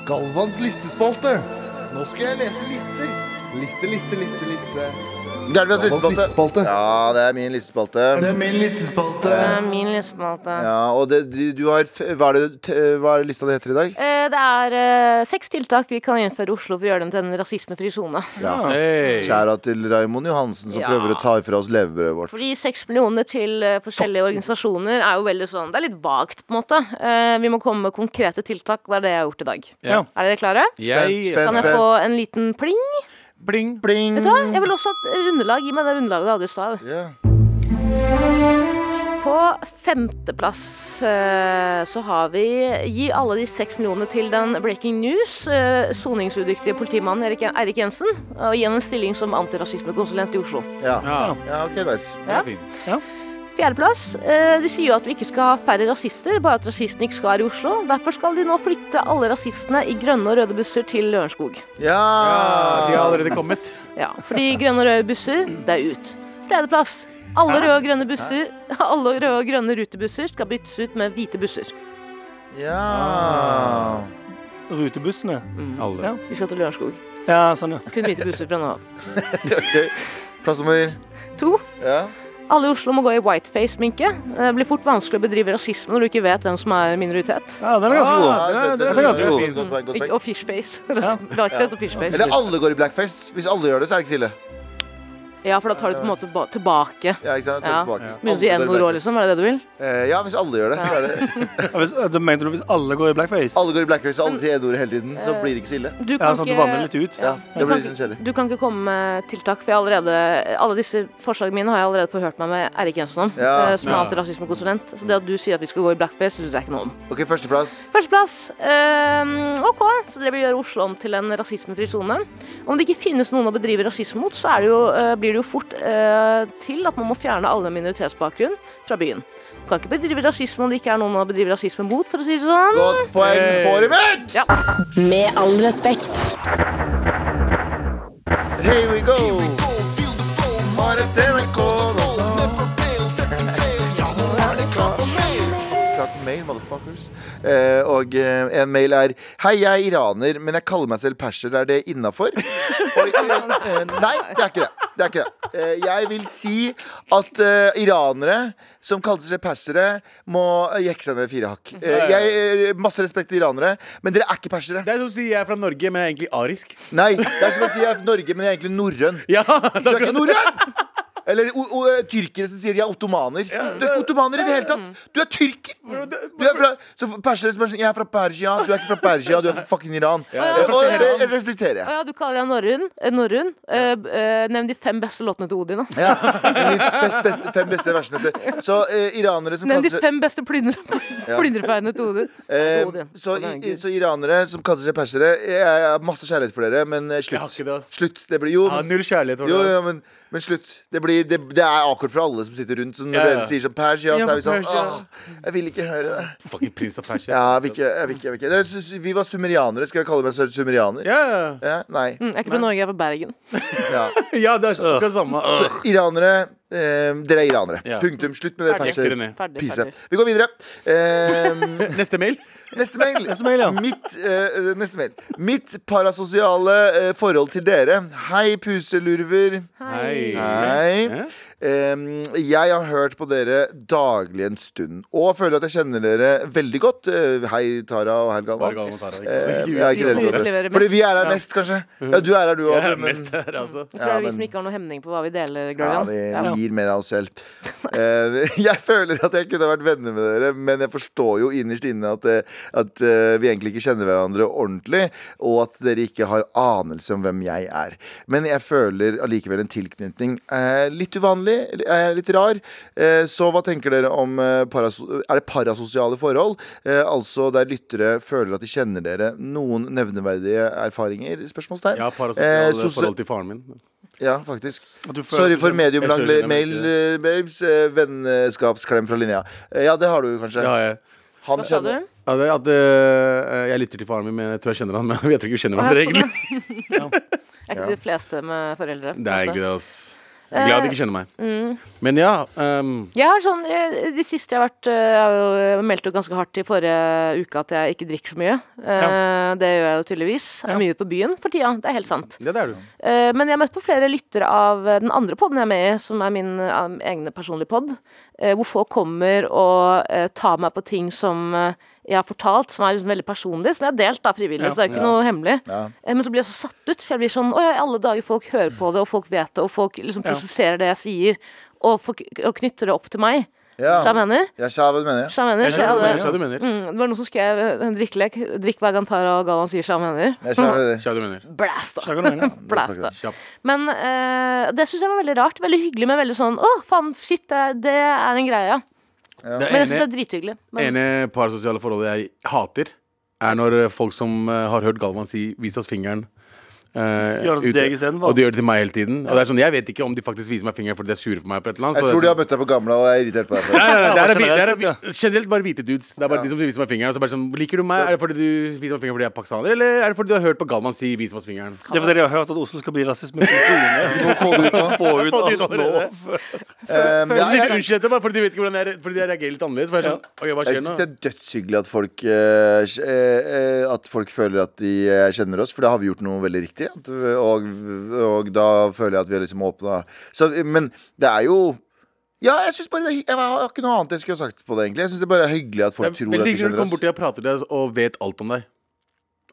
[SPEAKER 3] Galvans listespalte. Nå skal jeg lese lister. Liste, liste, liste, liste. Galvans listespalte. Ja, det er min listespalte.
[SPEAKER 2] Det er Min lesespalte.
[SPEAKER 3] Ja, og det, du, du har f- hva er, det, t, hva er det lista det heter i dag?
[SPEAKER 2] Eh, Det er eh, seks tiltak vi kan innføre i Oslo for å gjøre den til en rasismefri sone.
[SPEAKER 5] Hey.
[SPEAKER 3] Kjæra til Raymond Johansen, som
[SPEAKER 2] Ja.
[SPEAKER 3] prøver å ta ifra oss levebrødet vårt.
[SPEAKER 2] Fordi seks millioner til eh, forskjellige organisasjoner er jo veldig sånn Det er litt vagt, på en måte. Eh, vi må komme med konkrete tiltak. Det er det jeg har gjort i dag.
[SPEAKER 5] Ja.
[SPEAKER 2] Er dere klare?
[SPEAKER 5] Jeg
[SPEAKER 3] Spent,
[SPEAKER 2] Kan jeg
[SPEAKER 3] spent.
[SPEAKER 2] få en liten pling?
[SPEAKER 5] Bling.
[SPEAKER 3] Bling!
[SPEAKER 2] Vet du hva? Jeg vil også ha et underlag. Gi meg det underlaget du hadde i stad.
[SPEAKER 3] Ja.
[SPEAKER 2] På femteplass eh, så har vi Gi alle de seks millionene til den breaking news. eh, Soningsudyktige politimannen Erik, Erik Jensen. Og gi ham en stilling som antirasismekonsulent i Oslo.
[SPEAKER 3] Ja.
[SPEAKER 5] Ja,
[SPEAKER 3] ja, OK, nice.
[SPEAKER 5] det er fint.
[SPEAKER 2] Fjerdeplass. eh, De sier jo at vi ikke skal ha færre rasister, bare at rasistene ikke skal være i Oslo. Derfor skal de nå flytte alle rasistene i grønne og røde busser til Lørenskog.
[SPEAKER 5] De har
[SPEAKER 3] Ja!
[SPEAKER 5] allerede kommet.
[SPEAKER 2] Ja, fordi grønne og røde busser, det er ut. Tredjeplass. Alle røde og grønne busser Alle røde og grønne rutebusser skal byttes ut med hvite busser.
[SPEAKER 3] ja.
[SPEAKER 4] Rutebussene.
[SPEAKER 5] Alle.
[SPEAKER 2] Vi skal til Lørenskog.
[SPEAKER 4] Ja, sånn, ja.
[SPEAKER 2] Kun hvite busser fra nå av.
[SPEAKER 3] Ok. Plass nummer
[SPEAKER 2] To.
[SPEAKER 3] Ja.
[SPEAKER 2] Alle i Oslo må gå i whiteface-minke. Det blir fort vanskelig å bedrive rasisme når du ikke vet hvem som er minoritet.
[SPEAKER 4] ja den er ganske god.
[SPEAKER 3] Ah, Ja,
[SPEAKER 4] det er ganske god.
[SPEAKER 3] fint, godt poeng, godt
[SPEAKER 2] Ikke-
[SPEAKER 3] poeng.
[SPEAKER 2] Og fishface. Whiteface og fishface.
[SPEAKER 3] Eller alle går i blackface. Hvis alle gjør det, så er det ikke så ille.
[SPEAKER 2] Ja, for da tar du på en måte ba- tilbake.
[SPEAKER 3] Ja, ikke sant?
[SPEAKER 2] Ja.
[SPEAKER 3] Ja. Tilbake. Alle
[SPEAKER 2] Begynner i
[SPEAKER 3] går i
[SPEAKER 2] n-ord òg,
[SPEAKER 3] blackface.
[SPEAKER 2] liksom. Er det det du vil?
[SPEAKER 3] Eh, ja, hvis alle gjør det, så er det
[SPEAKER 4] Ja, Hvis, altså, mente du hvis alle går i blackface?
[SPEAKER 3] Alle går i blackface og alle sier n-ordet hele tiden, så blir det ikke så ille.
[SPEAKER 2] Du
[SPEAKER 4] Ja,
[SPEAKER 2] kan
[SPEAKER 4] sånn at du
[SPEAKER 3] eh,
[SPEAKER 4] vanner litt
[SPEAKER 2] ikke
[SPEAKER 4] ut.
[SPEAKER 3] Ja,
[SPEAKER 2] du
[SPEAKER 3] det
[SPEAKER 2] kan
[SPEAKER 3] blir litt sånn kjedelig.
[SPEAKER 2] ikke- du kan ikke komme med tiltak, for jeg har allerede, alle disse forslagene mine har jeg allerede forhørt meg med Erik Jensen om,
[SPEAKER 3] Ja.
[SPEAKER 2] eh, som er antirasismekonsulent. Så det at du sier at vi skal gå i blackface, syns jeg ikke noe om.
[SPEAKER 3] OK, førsteplass.
[SPEAKER 2] Førsteplass. ehm, OK, så dere vil gjøre Oslo om til en rasismefri sone. Om det ikke finnes noen å bedrive rasisme mot, så er det jo, eh, blir det jo fort eh, til at man må fjerne alle med minoritetsbakgrunn fra byen. Du kan ikke bedrive rasisme om det ikke er noen å bedrive rasisme mot, for å si det sånn.
[SPEAKER 3] Godt poeng. Får i mutt!
[SPEAKER 2] Ja.
[SPEAKER 1] Med all respekt.
[SPEAKER 3] Here we go. Bare NRK. Klar for mail, motherfuckers. Eh, og eh, en mail er Hei, jeg er iraner, men jeg kaller meg selv perser. Er det innafor? Oi, eh, eh, Nei, det er ikke det. det, er ikke det. Eh, Jeg vil si at eh, iranere som kaller seg persere, må eh, jekke seg ned fire hakk. Eh, Jeg, eh, masse respekt til iranere, men dere er ikke persere.
[SPEAKER 5] Det er som å si jeg er fra Norge, men jeg er egentlig arisk.
[SPEAKER 3] Nei, det er som å si jeg er fra Norge, men jeg er egentlig norrøn.
[SPEAKER 5] Ja,
[SPEAKER 3] Du er ikke norrøn! Eller o, o, tyrkere som sier de er ottomaner. Du er ikke ottomaner i det hele tatt! Du er tyrker! Du er fra, så persere som er sånn Jeg er fra Persia, du er ikke fra Persia, du er fra fucking Iran.
[SPEAKER 5] Ja,
[SPEAKER 3] Og det det respekterer
[SPEAKER 2] Å
[SPEAKER 3] jeg.
[SPEAKER 2] ja, du kaller deg norrøn. eh, norrøn. Eh, b- eh, nevn de fem beste låtene til Odin, da.
[SPEAKER 3] Ja. De fest, beste, fem beste versene til Så eh, iranere som
[SPEAKER 2] Nevn de
[SPEAKER 3] kaller seg
[SPEAKER 2] fem beste plyndre- plyndrefeiene til Odin.
[SPEAKER 3] eh,
[SPEAKER 2] Odin.
[SPEAKER 3] så,
[SPEAKER 2] Odin er en
[SPEAKER 3] i,
[SPEAKER 2] gud.
[SPEAKER 3] så iranere som kaller seg persere Jeg jeg har masse kjærlighet for dere, men eh,
[SPEAKER 5] Jeg har ikke det,
[SPEAKER 3] slutt.
[SPEAKER 5] ass.
[SPEAKER 3] Slutt. Det blir jo
[SPEAKER 5] Ja, null kjærlighet.
[SPEAKER 3] Jo, jo, men, men slutt. Det, blir, det, det er akkurat for alle som sitter rundt. Så når
[SPEAKER 5] Ja, ja.
[SPEAKER 3] dere sier sånn Persia,
[SPEAKER 5] Ja,
[SPEAKER 3] så er vi sånn
[SPEAKER 5] Persia.
[SPEAKER 3] Åh, jeg vil ikke høre det.
[SPEAKER 5] Fucking prins av Persia.
[SPEAKER 3] Ja, jeg vil ikke, jeg vil ikke, jeg vil ikke. Det, er- vi var sumerianere. Skal jeg kalle meg selv sumerianer?
[SPEAKER 5] Ja,
[SPEAKER 3] Ja, nei.
[SPEAKER 2] Mm, Jeg er ikke fra Norge, jeg er fra Bergen.
[SPEAKER 3] Ja.
[SPEAKER 5] ja. ja, det er ikke det samme.
[SPEAKER 3] Så iranere eh, Dere er iranere.
[SPEAKER 5] Ja.
[SPEAKER 3] Punktum. Slutt med det
[SPEAKER 2] Ferdig.
[SPEAKER 5] Jekker det
[SPEAKER 3] perser.
[SPEAKER 5] ned.
[SPEAKER 2] Ferdig,
[SPEAKER 3] Pise.
[SPEAKER 2] ferdig.
[SPEAKER 3] Vi går videre. Eh,
[SPEAKER 5] Neste mail.
[SPEAKER 3] Neste mail.
[SPEAKER 4] Neste mail, ja.
[SPEAKER 3] Mitt, eh, neste mail. Mitt parasosiale eh, forhold til dere. Hei, puselurver.
[SPEAKER 5] Hei.
[SPEAKER 3] Hei.
[SPEAKER 5] Hæ?
[SPEAKER 3] Em, jeg har hørt på dere daglig en stund, og føler at jeg kjenner dere veldig godt. Eh, hei, Tara og Helga.
[SPEAKER 5] Bare gal mot Tara, ikke?
[SPEAKER 3] Eh, jeg er
[SPEAKER 2] Vi
[SPEAKER 3] ikke
[SPEAKER 2] som
[SPEAKER 3] dere
[SPEAKER 2] utleverer
[SPEAKER 3] godt.
[SPEAKER 2] mest.
[SPEAKER 3] Fordi vi er her mest, kanskje. Ja, du er her, du
[SPEAKER 5] Jeg
[SPEAKER 3] òg.
[SPEAKER 5] er mest her, altså.
[SPEAKER 2] Jeg tror det
[SPEAKER 3] Ja,
[SPEAKER 2] er vi
[SPEAKER 3] men-
[SPEAKER 2] som ikke har noe hemning på hva vi deler,
[SPEAKER 3] Ja,
[SPEAKER 2] Glorian.
[SPEAKER 3] vi,
[SPEAKER 2] Ja,
[SPEAKER 3] vi gir mer av oss selv. Eh, jeg føler at jeg kunne vært venner med dere, men jeg forstår jo innerst inne at, eh, at eh, vi egentlig ikke kjenner hverandre ordentlig, og at dere ikke har anelse om hvem jeg er. Men jeg føler allikevel en tilknytning. Eh, litt uvanlig, eh, litt rar. Eh, så hva tenker dere om eh, paraso Er det parasosiale forhold? Eh, altså der lyttere føler at de kjenner dere. Noen nevneverdige erfaringer? Spørsmålstegn.
[SPEAKER 5] Jeg
[SPEAKER 3] Eh,
[SPEAKER 5] har parasosialt
[SPEAKER 3] sosia-
[SPEAKER 5] forhold til faren min.
[SPEAKER 3] ja, faktisk.
[SPEAKER 4] At du føler-
[SPEAKER 3] Sorry for mediumlang
[SPEAKER 5] Jeg føler det, men
[SPEAKER 3] mail, eh, babes. Eh, Vennskapsklem fra linja. Eh, Ja, det har du kanskje.
[SPEAKER 5] Det har jeg.
[SPEAKER 3] Han
[SPEAKER 2] Hva sa du?
[SPEAKER 3] kjenner
[SPEAKER 5] Ja, det er at øh, jeg lytter til faren min, men jeg tror jeg kjenner han. Men jeg tror ikke vi kjenner hverandre, egentlig.
[SPEAKER 2] Er ikke de fleste med foreldre?
[SPEAKER 5] Det er egentlig det, ass. Jeg er glad de ikke kjenner meg. Men ja. ehm, øhm,
[SPEAKER 2] Jeg har sånn, eh, De siste jeg har vært eh, Jeg har jo- jeg meldte jo ganske hardt i forrige uke at jeg ikke drikker så mye. Eh, Det gjør jeg jo tydeligvis. Jeg er mye ute på byen for tida. Det er helt sant.
[SPEAKER 5] ja, det er du.
[SPEAKER 2] Eh, Men jeg har møtt på flere lyttere av eh, den andre podden jeg er med i, som er min eh, egne personlige pod, eh, hvor folk kommer og eh, tar meg på ting som eh, jeg har fortalt, som er liksom veldig personlig, som jeg har delt da frivillig, så det er jo ikke noe hemmelig. Eh, Men så blir jeg så satt ut, for jeg blir sånn Å ja, i alle dager, folk hører på det, og folk vet det, og folk liksom prosesserer det jeg sier, og, folk, og knytter det opp til meg.
[SPEAKER 3] Ja.
[SPEAKER 2] Så jeg mener.
[SPEAKER 3] Ja, sjaven, mener jeg.
[SPEAKER 2] Så jeg mener.
[SPEAKER 4] Jeg
[SPEAKER 2] Så jeg
[SPEAKER 4] skjønner hva
[SPEAKER 5] Jeg
[SPEAKER 2] hadde,
[SPEAKER 5] skjønner hva du mener.
[SPEAKER 2] mm, det var noen som skrev eh, en drikkelek. Drikk hver gang Tara og Galvan sier 'sja mener'.
[SPEAKER 3] Jeg skjønner det.
[SPEAKER 5] Jeg skjønner hva du mener.
[SPEAKER 2] Blæsta!
[SPEAKER 4] Skjønner hva du mener.
[SPEAKER 2] Blæsta.
[SPEAKER 5] Kjapt.
[SPEAKER 2] Men eh, det syns jeg var veldig rart. Veldig hyggelig, men veldig sånn Å, faen, shit, det, det er en greie.
[SPEAKER 4] Det
[SPEAKER 2] Men jeg syns det
[SPEAKER 4] ene
[SPEAKER 2] er drithyggelig. Men
[SPEAKER 5] ene parasosiale forholdet jeg hater, er når eh, folk som eh, har hørt Galvan si 'vis oss fingeren' eh,
[SPEAKER 4] Gjør det til
[SPEAKER 5] ute-
[SPEAKER 4] deg isteden, hva?
[SPEAKER 5] Og de gjør det til meg hele tiden. Og det er sånn, Jeg vet ikke om de faktisk viser meg fingeren fordi de er sure på meg. på et eller annet
[SPEAKER 3] Jeg
[SPEAKER 5] så det er
[SPEAKER 3] tror de
[SPEAKER 5] sånn-
[SPEAKER 3] har møtt deg på gamla og er irritert på deg. for det.
[SPEAKER 5] Nei, nei, nei, det er, det er,
[SPEAKER 4] Generelt sett,
[SPEAKER 5] det er, generelt bare hvite dudes. Det er bare de som viser meg fingeren. Og så bare sånn, liker du meg? Er det fordi du viser meg fingeren fordi jeg er pakistaner, eller er det fordi du har hørt på Galvan si 'vis oss fingeren'?
[SPEAKER 4] Det er fordi de har hørt at Oslo skal bli rasismekonsulene.
[SPEAKER 3] Få
[SPEAKER 4] Få
[SPEAKER 3] det ut nå.
[SPEAKER 4] ut
[SPEAKER 5] Få det ut
[SPEAKER 4] alt nå.
[SPEAKER 5] allerede.
[SPEAKER 3] Um,
[SPEAKER 5] Så
[SPEAKER 3] ja, jeg-
[SPEAKER 5] sier du Altså, unnskyld etterpå, bare fordi de vet ikke hvordan jeg, re- fordi jeg reagerer litt annerledes. For jeg er sånn, ok, hva
[SPEAKER 3] Jeg
[SPEAKER 5] skjer
[SPEAKER 3] syns
[SPEAKER 5] nå?
[SPEAKER 3] det er dødshyggelig at folk, eh, sk- eh, eh, at folk føler at de eh, kjenner oss, for da har vi gjort noe veldig riktig. At, og, og da føler jeg at vi er liksom åpna. Så, Men det er jo Ja, jeg syns bare det er hy- Jeg har ikke noe annet jeg skulle ha sagt på det, egentlig. Jeg syns det bare er hyggelig at folk
[SPEAKER 5] Det er
[SPEAKER 3] tror at
[SPEAKER 5] veldig
[SPEAKER 3] de altså.
[SPEAKER 5] hyggelig når du
[SPEAKER 3] kjenner
[SPEAKER 5] kommer
[SPEAKER 3] oss.
[SPEAKER 5] bort til deg og prater til deg og vet alt om deg.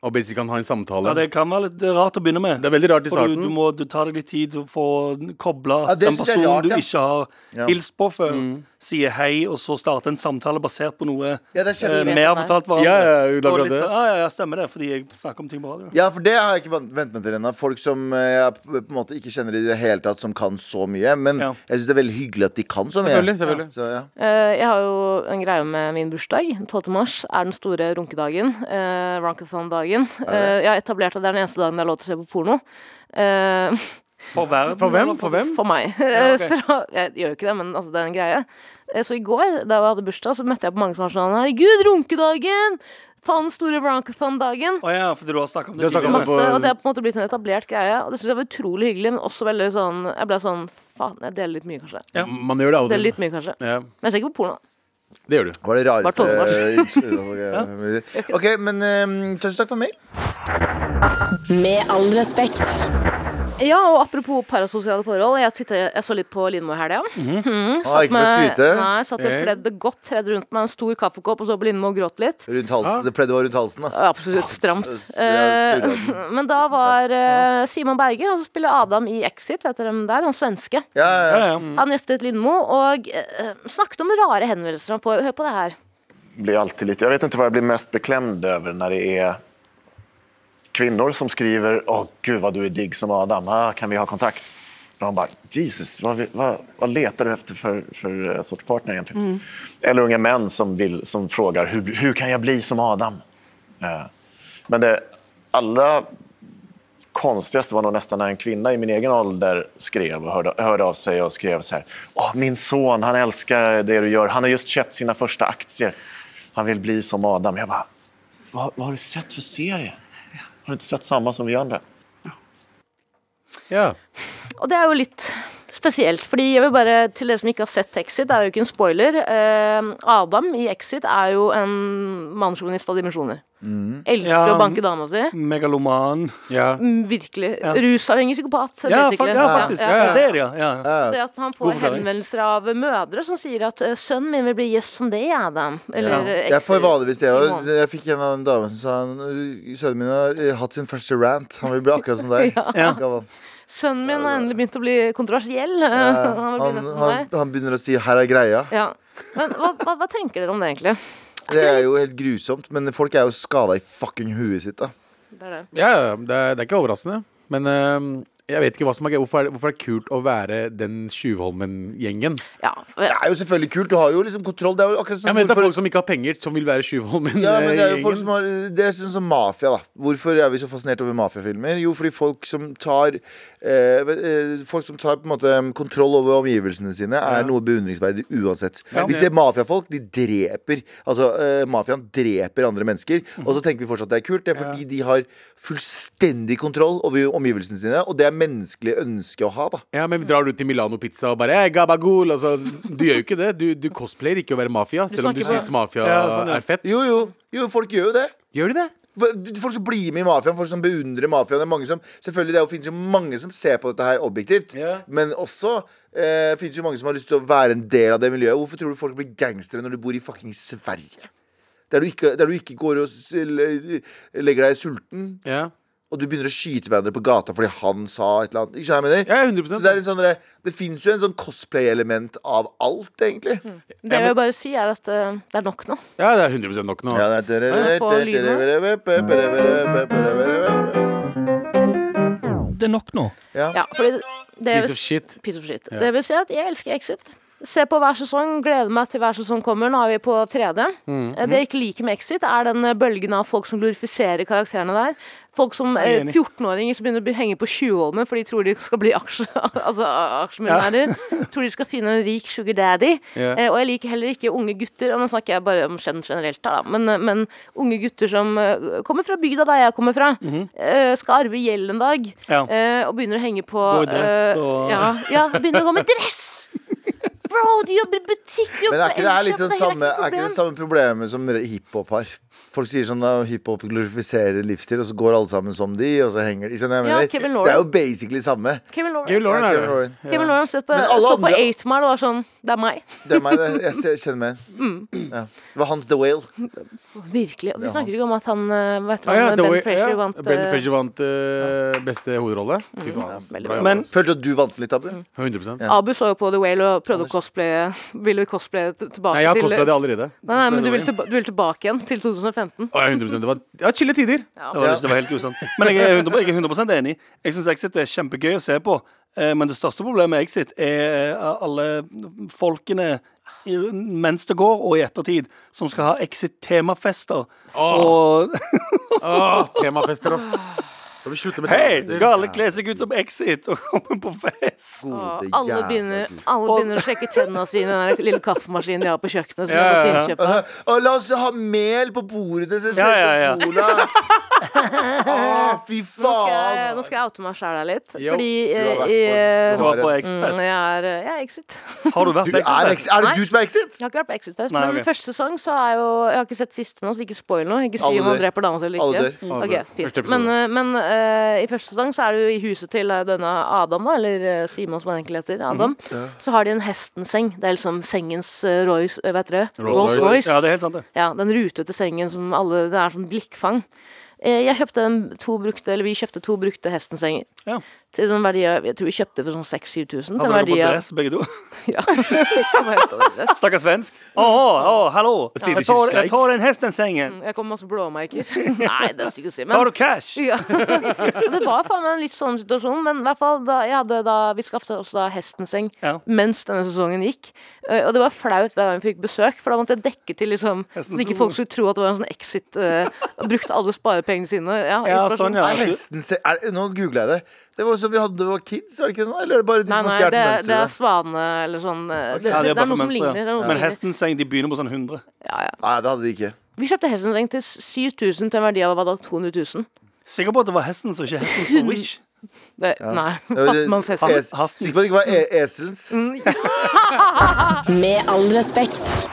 [SPEAKER 5] Og basically kan ha en samtale.
[SPEAKER 4] Ja, det kan være litt rart å begynne med.
[SPEAKER 5] Det er veldig rart i
[SPEAKER 4] For du,
[SPEAKER 5] starten.
[SPEAKER 4] du må du tar deg litt tid til å få kobla
[SPEAKER 3] Ja,
[SPEAKER 4] at
[SPEAKER 3] det
[SPEAKER 4] den
[SPEAKER 3] synes jeg er
[SPEAKER 4] personen
[SPEAKER 3] rart,
[SPEAKER 4] du
[SPEAKER 3] ja.
[SPEAKER 4] ikke har
[SPEAKER 3] Ja.
[SPEAKER 4] hilst på før,
[SPEAKER 5] Mm.
[SPEAKER 4] sier hei, og så starte en samtale basert på noe
[SPEAKER 3] Ja, det er
[SPEAKER 4] eh,
[SPEAKER 3] kjempe-
[SPEAKER 4] vi har fortalt hverandre.
[SPEAKER 5] Ja, ja, ja,
[SPEAKER 4] og
[SPEAKER 5] akkurat
[SPEAKER 4] litt
[SPEAKER 5] det.
[SPEAKER 4] sånn, ja, ja, ja, stemmer det, fordi jeg snakker om ting på radio.
[SPEAKER 3] ja, for det har jeg ikke van- vent meg til ennå. Folk som eh, jeg på en måte ikke kjenner i det hele tatt, som kan så mye. Men
[SPEAKER 4] Ja.
[SPEAKER 3] jeg syns det er veldig hyggelig at de kan så mye.
[SPEAKER 5] Selvfølgelig, selvfølgelig.
[SPEAKER 3] Så, ja.
[SPEAKER 2] eh, jeg har jo en greie med min bursdag. 12. mars er den store runkedagen. Uh, Runkathon-dagen. Eh, jeg har etablert at det er den eneste dagen det er lov til å se på porno. Eh,
[SPEAKER 4] For verden.
[SPEAKER 5] For hvem?
[SPEAKER 4] eller
[SPEAKER 5] For hvem?
[SPEAKER 2] For meg.
[SPEAKER 4] ok.
[SPEAKER 2] Fra, jeg gjør jo ikke det, men altså, det er en greie. Eh, Så i går, da jeg hadde bursdag, så møtte jeg på mange som var sånn Herregud, runkedagen! Faen, store Ronkathon-dagen!
[SPEAKER 4] Å ja, fordi du har snakket om det
[SPEAKER 5] Du har snakket om
[SPEAKER 4] tidligere.
[SPEAKER 5] det.
[SPEAKER 2] Masse, og det har på en måte blitt en etablert greie, og det syns jeg var utrolig hyggelig, men også veldig sånn Jeg ble sånn Faen, jeg deler litt mye, kanskje.
[SPEAKER 4] Ja.
[SPEAKER 5] Man gjør det av og
[SPEAKER 2] Deler
[SPEAKER 5] til.
[SPEAKER 2] litt mye, kanskje.
[SPEAKER 5] Ja,
[SPEAKER 2] Men jeg ser ikke på porno.
[SPEAKER 5] det gjør du.
[SPEAKER 3] Det var det rareste
[SPEAKER 2] Bare tolv
[SPEAKER 3] eh, innslaget. OK, men eh, tusen takk for mail.
[SPEAKER 1] Med all respekt.
[SPEAKER 2] Ja, og apropos parasosiale forhold. Jeg, tittet, jeg så litt på Lindmo i helga.
[SPEAKER 3] Ah,
[SPEAKER 2] Mm.
[SPEAKER 3] ikke for å
[SPEAKER 2] Med-
[SPEAKER 3] skryte.
[SPEAKER 2] Nei, satt med pleddet godt tredd rundt meg, en stor kaffekopp, og så på Lindmo og gråt litt.
[SPEAKER 3] Rundt halsen. Det pleide å være rundt halsen, da.
[SPEAKER 2] Absolutt stramt.
[SPEAKER 3] s- jeg snudde
[SPEAKER 2] Eh, men da var eh, Simon Berge, han som spiller Adam i Exit, vet dere hvem det er? Han svenske.
[SPEAKER 3] Ja, ja,
[SPEAKER 4] Ja,
[SPEAKER 3] ja.
[SPEAKER 4] ja.
[SPEAKER 5] Mm.
[SPEAKER 2] Han gjestet Lindmo og eh, snakket om rare henvendelser han får. Hør på det her.
[SPEAKER 7] blir alltid lite, jag vet inte vad jag blir mest beklämd över när det är kvinnor som skriver Åh gud vad du är digg som Adam, ah, kan vi ha kontakt? Och man bara Jesus, vad, vi- vad, vad letar du efter för, för eh, sorts partner egentligen? Eller unga män som, vill, som frågar hur, hur kan jag bli som Adam? Eh, men det allra konstigaste var nog nästan när en kvinna i min egen ålder skrev och hörde, hörde av sig och skrev så här. Åh, min son, han älskar det du gör. Han har just köpt sina första aktier. Han vill bli som Adam. Jag bara, vad, vad har du sett för serie? Har du inte sett samma som vi andra?
[SPEAKER 5] Ja.
[SPEAKER 2] Og det er jo litt spesielt, fordi jeg vil bare, til dere som ikke har sett Exit, det er jo ikke en spoiler, eh, Adam i Exit er jo en mannssjåvinist av dimensjoner.
[SPEAKER 3] Mm.
[SPEAKER 2] Elsker
[SPEAKER 4] Ja.
[SPEAKER 2] å banke dama si.
[SPEAKER 4] Megaloman.
[SPEAKER 5] ja.
[SPEAKER 2] Mm, Virkelig. Rusavhengig psykopat,
[SPEAKER 4] Ja, fa
[SPEAKER 2] basically.
[SPEAKER 4] ja, faktisk.
[SPEAKER 2] Ja, ja.
[SPEAKER 4] Det er det, ja. ja. ja.
[SPEAKER 2] Det at man
[SPEAKER 4] God
[SPEAKER 2] får
[SPEAKER 4] forklaring.
[SPEAKER 2] henvendelser av mødre som sier at eh, 'sønnen min vil bli just som deg, Adam'. Eller eh,
[SPEAKER 3] Jeg får vanligvis det
[SPEAKER 2] Ja.
[SPEAKER 3] òg. Jeg fikk en av en dame som sa han, Sønnen min har eh, hatt sin første rant. Han vil bli akkurat som deg.
[SPEAKER 4] Ja.
[SPEAKER 3] Gavan.
[SPEAKER 2] Sønnen min har endelig begynt å bli kontroversiell. eh, Han vil bli
[SPEAKER 3] Han,
[SPEAKER 2] rett som
[SPEAKER 3] han,
[SPEAKER 2] deg.
[SPEAKER 3] han begynner å si 'her er greia'.
[SPEAKER 2] Ja. Men hva, hva, hva tenker dere om det, egentlig?
[SPEAKER 3] Det er jo helt grusomt, men folk er jo skada i fucking huet sitt, da.
[SPEAKER 2] Det er det.
[SPEAKER 5] Ja, ja, det er, det er ikke overraskende. Men øhm, jeg vet ikke hva som er gøy. Hvorfor er, det- hvorfor er det kult å være den Tjuvholmen-gjengen?
[SPEAKER 2] Ja,
[SPEAKER 3] Det er jo selvfølgelig kult. Du har jo liksom kontroll. Det er jo akkurat
[SPEAKER 5] Ja,
[SPEAKER 3] som
[SPEAKER 5] men Det er
[SPEAKER 3] hvorfor-
[SPEAKER 5] folk som ikke har penger, som vil være Tjuvholmen-gjengen.
[SPEAKER 3] Ja, men det er jo folk som har Det er sånn som mafia, da. Hvorfor er vi så fascinert over mafiafilmer? Jo, fordi folk som tar eh, vet- eh, Folk som tar på en måte mm, kontroll over omgivelsene sine, er noe beundringsverdig uansett.
[SPEAKER 4] Ja.
[SPEAKER 3] Vi ser mafiafolk, de dreper. Altså, eh, mafiaen dreper andre mennesker, og så tenker vi fortsatt det er kult. Det er fordi de har fullstendig kontroll over omgivelsene sine, og det er menneskelig ønske å ha, da.
[SPEAKER 5] Ja, men Drar du til Milano Pizza og bare hey, gabagool, altså, Du gjør jo ikke det. Du, du cosplayer ikke å være mafia, selv om du
[SPEAKER 2] snakker bare-
[SPEAKER 5] syns mafia
[SPEAKER 4] Ja, sånn, ja.
[SPEAKER 5] er fett.
[SPEAKER 3] Jo, jo. Jo, folk gjør jo det.
[SPEAKER 5] Gjør de det?
[SPEAKER 3] Folk som blir med i mafiaen, folk som beundrer mafiaen. Det er mange som, selvfølgelig det er jo- finnes jo mange som ser på dette her objektivt,
[SPEAKER 5] Ja.
[SPEAKER 3] men også eh, finnes jo mange som har lyst til å være en del av det miljøet. Hvorfor tror du folk blir gangstere når du bor i fucking Sverige? Der du ikke, der du ikke går og s- l- legger deg sulten,
[SPEAKER 5] Ja,
[SPEAKER 3] og du begynner å skyte hverandre på gata fordi han sa et eller annet. Ikke sant, jeg mener?
[SPEAKER 5] ja
[SPEAKER 3] Så
[SPEAKER 5] 100
[SPEAKER 3] det, er en sånn, derre- det finnes jo en sånn cosplay-element av alt,
[SPEAKER 5] Mm.
[SPEAKER 3] egentlig.
[SPEAKER 2] Det jeg vil bare si, er at eh, det er nok nå.
[SPEAKER 5] Ja, det er 100 nok nå.
[SPEAKER 3] Ja,
[SPEAKER 5] ass.
[SPEAKER 3] det er-
[SPEAKER 2] jeg få
[SPEAKER 4] Det er nok nå.
[SPEAKER 3] Ja.
[SPEAKER 2] Ja, fordi det
[SPEAKER 5] Piece
[SPEAKER 2] vil,
[SPEAKER 5] of shit.
[SPEAKER 2] piece of shit. Det vil si at jeg elsker Exit. Se på hver sesong, gleder meg til hver sesong kommer. Nå er vi på tredje. Eh, Det jeg ikke liker med Exit, er den eh, bølgen av folk som glorifiserer karakterene der. Folk som eh,
[SPEAKER 4] enig.
[SPEAKER 2] 14-åringer som begynner å be- henge på 20-ålmen for de tror de skal bli aksje, altså, a- aksjemillionærer. tror de skal finne en rik sugar daddy.
[SPEAKER 5] Ja.
[SPEAKER 2] Eh, og jeg liker heller ikke unge gutter, og nå snakker jeg bare om gen generelt her, da, men, eh, men unge gutter som eh, kommer fra bygda der jeg kommer fra, eh, skal arve gjeld en dag,
[SPEAKER 4] Ja.
[SPEAKER 2] eh, og begynner å henge på
[SPEAKER 4] Gå i dress
[SPEAKER 2] eh,
[SPEAKER 4] og-
[SPEAKER 2] ja, ja, begynner å gå med dress! Bro, du jobber i butikk, du
[SPEAKER 3] Men
[SPEAKER 2] jobber
[SPEAKER 3] er ikke det her litt
[SPEAKER 2] Elkjøp,
[SPEAKER 3] sånn
[SPEAKER 2] det er
[SPEAKER 3] samme,
[SPEAKER 2] ikke
[SPEAKER 3] er
[SPEAKER 2] noe
[SPEAKER 3] ikke det
[SPEAKER 2] problem.
[SPEAKER 3] samme problemet som hiphop har? Folk sier sånn at hiphop glorifiserer livsstil, og så går alle sammen som de, og så henger de. Ikke sant hva jeg
[SPEAKER 2] Ja,
[SPEAKER 3] mener?
[SPEAKER 2] Kevin
[SPEAKER 3] så det
[SPEAKER 2] Lauren.
[SPEAKER 3] er jo basically samme.
[SPEAKER 2] Kevin Lauren,
[SPEAKER 5] Kevin Lauren
[SPEAKER 3] Ja,
[SPEAKER 5] er
[SPEAKER 3] Kevin
[SPEAKER 5] det.
[SPEAKER 3] Lauren.
[SPEAKER 2] Kevin Lauren så på,
[SPEAKER 3] Men alle
[SPEAKER 2] så på
[SPEAKER 3] andre-
[SPEAKER 2] 8 Mile og var sånn Det er meg.
[SPEAKER 3] Det er meg, det. Jeg ser- kjenner meg igjen.
[SPEAKER 2] Mm.
[SPEAKER 3] Ja. Det var Hans The Whale.
[SPEAKER 2] Virkelig. Og vi
[SPEAKER 3] Ja,
[SPEAKER 2] snakker
[SPEAKER 3] hans-
[SPEAKER 2] ikke om at han eh, vet du,
[SPEAKER 5] Ah, ja,
[SPEAKER 2] han,
[SPEAKER 5] det
[SPEAKER 2] Ben
[SPEAKER 5] var-
[SPEAKER 2] Frazier
[SPEAKER 5] ja,
[SPEAKER 2] vant
[SPEAKER 5] Ben
[SPEAKER 2] eh,
[SPEAKER 5] Frazier vant eh, beste hovedrolle. Fy faen. ass.
[SPEAKER 2] veldig
[SPEAKER 5] Bra
[SPEAKER 2] bra.
[SPEAKER 5] jobba,
[SPEAKER 4] Men-
[SPEAKER 5] ass.
[SPEAKER 3] Følte du at du vant litt,
[SPEAKER 2] Mm.
[SPEAKER 3] Abu?
[SPEAKER 5] 100
[SPEAKER 3] Ja.
[SPEAKER 2] Abu så jo på The Whale og prøvde å cosplaye Ville cosplaye t- tilbake
[SPEAKER 5] Nei, jeg har
[SPEAKER 2] til
[SPEAKER 5] kosta det allerede.
[SPEAKER 2] Nei, nei, men du vil, tilba du vil tilbake igjen til 2015.
[SPEAKER 5] Å, ja, 100 Det var ja, chille tider.
[SPEAKER 4] Det var, det var helt grusomt. Men jeg er 100, jeg er 100 enig. Jeg syns Exit er kjempegøy å se på. Eh, Men det største problemet med Exit er eh, alle folkene i- mens det går, og i ettertid, som skal ha Exit-temafester. Og
[SPEAKER 5] Åh, temafester, ass.
[SPEAKER 2] Ah.
[SPEAKER 5] Da vi slutter med
[SPEAKER 4] hei, så
[SPEAKER 5] temafester.
[SPEAKER 4] skal alle kle seg ut som Exit og komme på fest.
[SPEAKER 2] Og
[SPEAKER 3] Gode
[SPEAKER 2] alle
[SPEAKER 3] jævla
[SPEAKER 2] begynner,
[SPEAKER 3] Gud.
[SPEAKER 2] alle begynner å sjekke tennene sine i den der lille kaffemaskinen de har på kjøkkenet. Som de
[SPEAKER 5] Ja,
[SPEAKER 2] har gått
[SPEAKER 5] ja,
[SPEAKER 2] til innkjøp av.
[SPEAKER 3] Og la oss ha mel på bordene, så jeg
[SPEAKER 4] Ja,
[SPEAKER 3] ser
[SPEAKER 4] ja,
[SPEAKER 3] ut som cola. Å, fy
[SPEAKER 2] Nå skal jeg-
[SPEAKER 3] faen.
[SPEAKER 2] Nå skal jeg oute meg sjæl her litt.
[SPEAKER 5] Jo.
[SPEAKER 2] Fordi
[SPEAKER 3] Ah, Du har
[SPEAKER 2] eh, i,
[SPEAKER 4] Du
[SPEAKER 3] vært på- du
[SPEAKER 4] var på
[SPEAKER 2] eh,
[SPEAKER 4] Exit-fest.
[SPEAKER 2] mm, jeg er eh, jeg er Exit.
[SPEAKER 4] Har du sånn vært
[SPEAKER 3] Du
[SPEAKER 4] på
[SPEAKER 3] er,
[SPEAKER 4] Exit-fest?
[SPEAKER 3] ex- er det
[SPEAKER 2] Nei.
[SPEAKER 3] du som er Exit?
[SPEAKER 2] Jeg har ikke vært på Exit Fest,
[SPEAKER 4] Nei,
[SPEAKER 2] men
[SPEAKER 4] ok.
[SPEAKER 2] første sesong så er jo Jeg har ikke sett siste nå, så ikke spoil noe. Ikke si
[SPEAKER 3] Alle
[SPEAKER 2] om han
[SPEAKER 3] dør.
[SPEAKER 2] dreper dama si eller
[SPEAKER 3] Alle
[SPEAKER 2] ikke.
[SPEAKER 3] dør.
[SPEAKER 5] Alle
[SPEAKER 2] Ok,
[SPEAKER 5] dør. Første
[SPEAKER 2] fint.
[SPEAKER 5] episode.
[SPEAKER 2] Men, eh, men eh, i første sesong så er du i huset til eh, denne Adam, da, eller eh, Simon som han egentlig heter.
[SPEAKER 3] Mhm.
[SPEAKER 2] Adam. Så har de en hestenseng. Det er liksom sengens eh, Royce, eh, vet dere.
[SPEAKER 5] Rolls-Royce.
[SPEAKER 2] Rolls-Royce.
[SPEAKER 4] Ja, det er helt sant, det.
[SPEAKER 2] Ja, den rutete sengen som alle Det er sånn blikkfang. Eh, Jeg kjøpte en, to brukte, eller vi kjøpte to brukte hestensenger.
[SPEAKER 4] Ja.
[SPEAKER 2] Til en verdi av Jeg tror vi kjøpte for sånn 6000-7000. Til en
[SPEAKER 4] Hadde dere
[SPEAKER 2] verdi
[SPEAKER 4] på
[SPEAKER 2] av
[SPEAKER 4] dress, begge to?
[SPEAKER 2] Ja. Kom og hent den der.
[SPEAKER 4] Stakkars svensk.
[SPEAKER 2] Mm.
[SPEAKER 4] Å, å, hallo! Jeg tar, jeg tar den hesten sengen.
[SPEAKER 2] Jeg kom med masse blåmerker. Nei, det er stygt å si. Mm. Men
[SPEAKER 4] Tar du cash?
[SPEAKER 2] ja. det var faen meg en litt sånn situasjon, men i hvert fall da, jeg hadde da, vi skaffet oss da hestenseng
[SPEAKER 4] Ja.
[SPEAKER 2] mens denne sesongen gikk. Eh, Og det var flaut hver gang vi fikk besøk, for da måtte jeg dekke til liksom Så
[SPEAKER 4] Hestenseng.
[SPEAKER 2] ikke folk skulle tro at det var en sånn exit. eh, og brukte alle sparepengene sine. Ja,
[SPEAKER 4] Ja,
[SPEAKER 2] inspirasjon.
[SPEAKER 4] sånn, ja.
[SPEAKER 3] Er hesten se er, Nå googla jeg det. Det var jo som vi hadde da vi var kids, var det ikke sånn? Eller er det bare de
[SPEAKER 2] Nei,
[SPEAKER 3] som har
[SPEAKER 2] nei,
[SPEAKER 3] stjålet
[SPEAKER 2] det, det er
[SPEAKER 3] mønsteret?
[SPEAKER 2] svane eller sånn eh, det,
[SPEAKER 4] Ja,
[SPEAKER 2] det,
[SPEAKER 4] det er
[SPEAKER 2] er
[SPEAKER 4] bare
[SPEAKER 2] noe
[SPEAKER 4] for
[SPEAKER 2] som ligner.
[SPEAKER 4] mønsteret.
[SPEAKER 2] Det er noe som
[SPEAKER 4] Men
[SPEAKER 2] ligner.
[SPEAKER 4] hestens seng, de begynner på sånn 100.
[SPEAKER 2] Ja, ja.
[SPEAKER 3] Nei, det hadde vi ikke.
[SPEAKER 2] Vi kjøpte hestenseng til 7000 til en verdi av hva da, 200 000.
[SPEAKER 4] Sikker på at det var hesten som ikke hestens på Wish.
[SPEAKER 2] Det, Nei,
[SPEAKER 3] Det var-
[SPEAKER 2] fattigmannshest.
[SPEAKER 3] Es-
[SPEAKER 4] Hastens.
[SPEAKER 3] Sikker på at det ikke var e eselens?
[SPEAKER 2] Mm.
[SPEAKER 1] Med all respekt.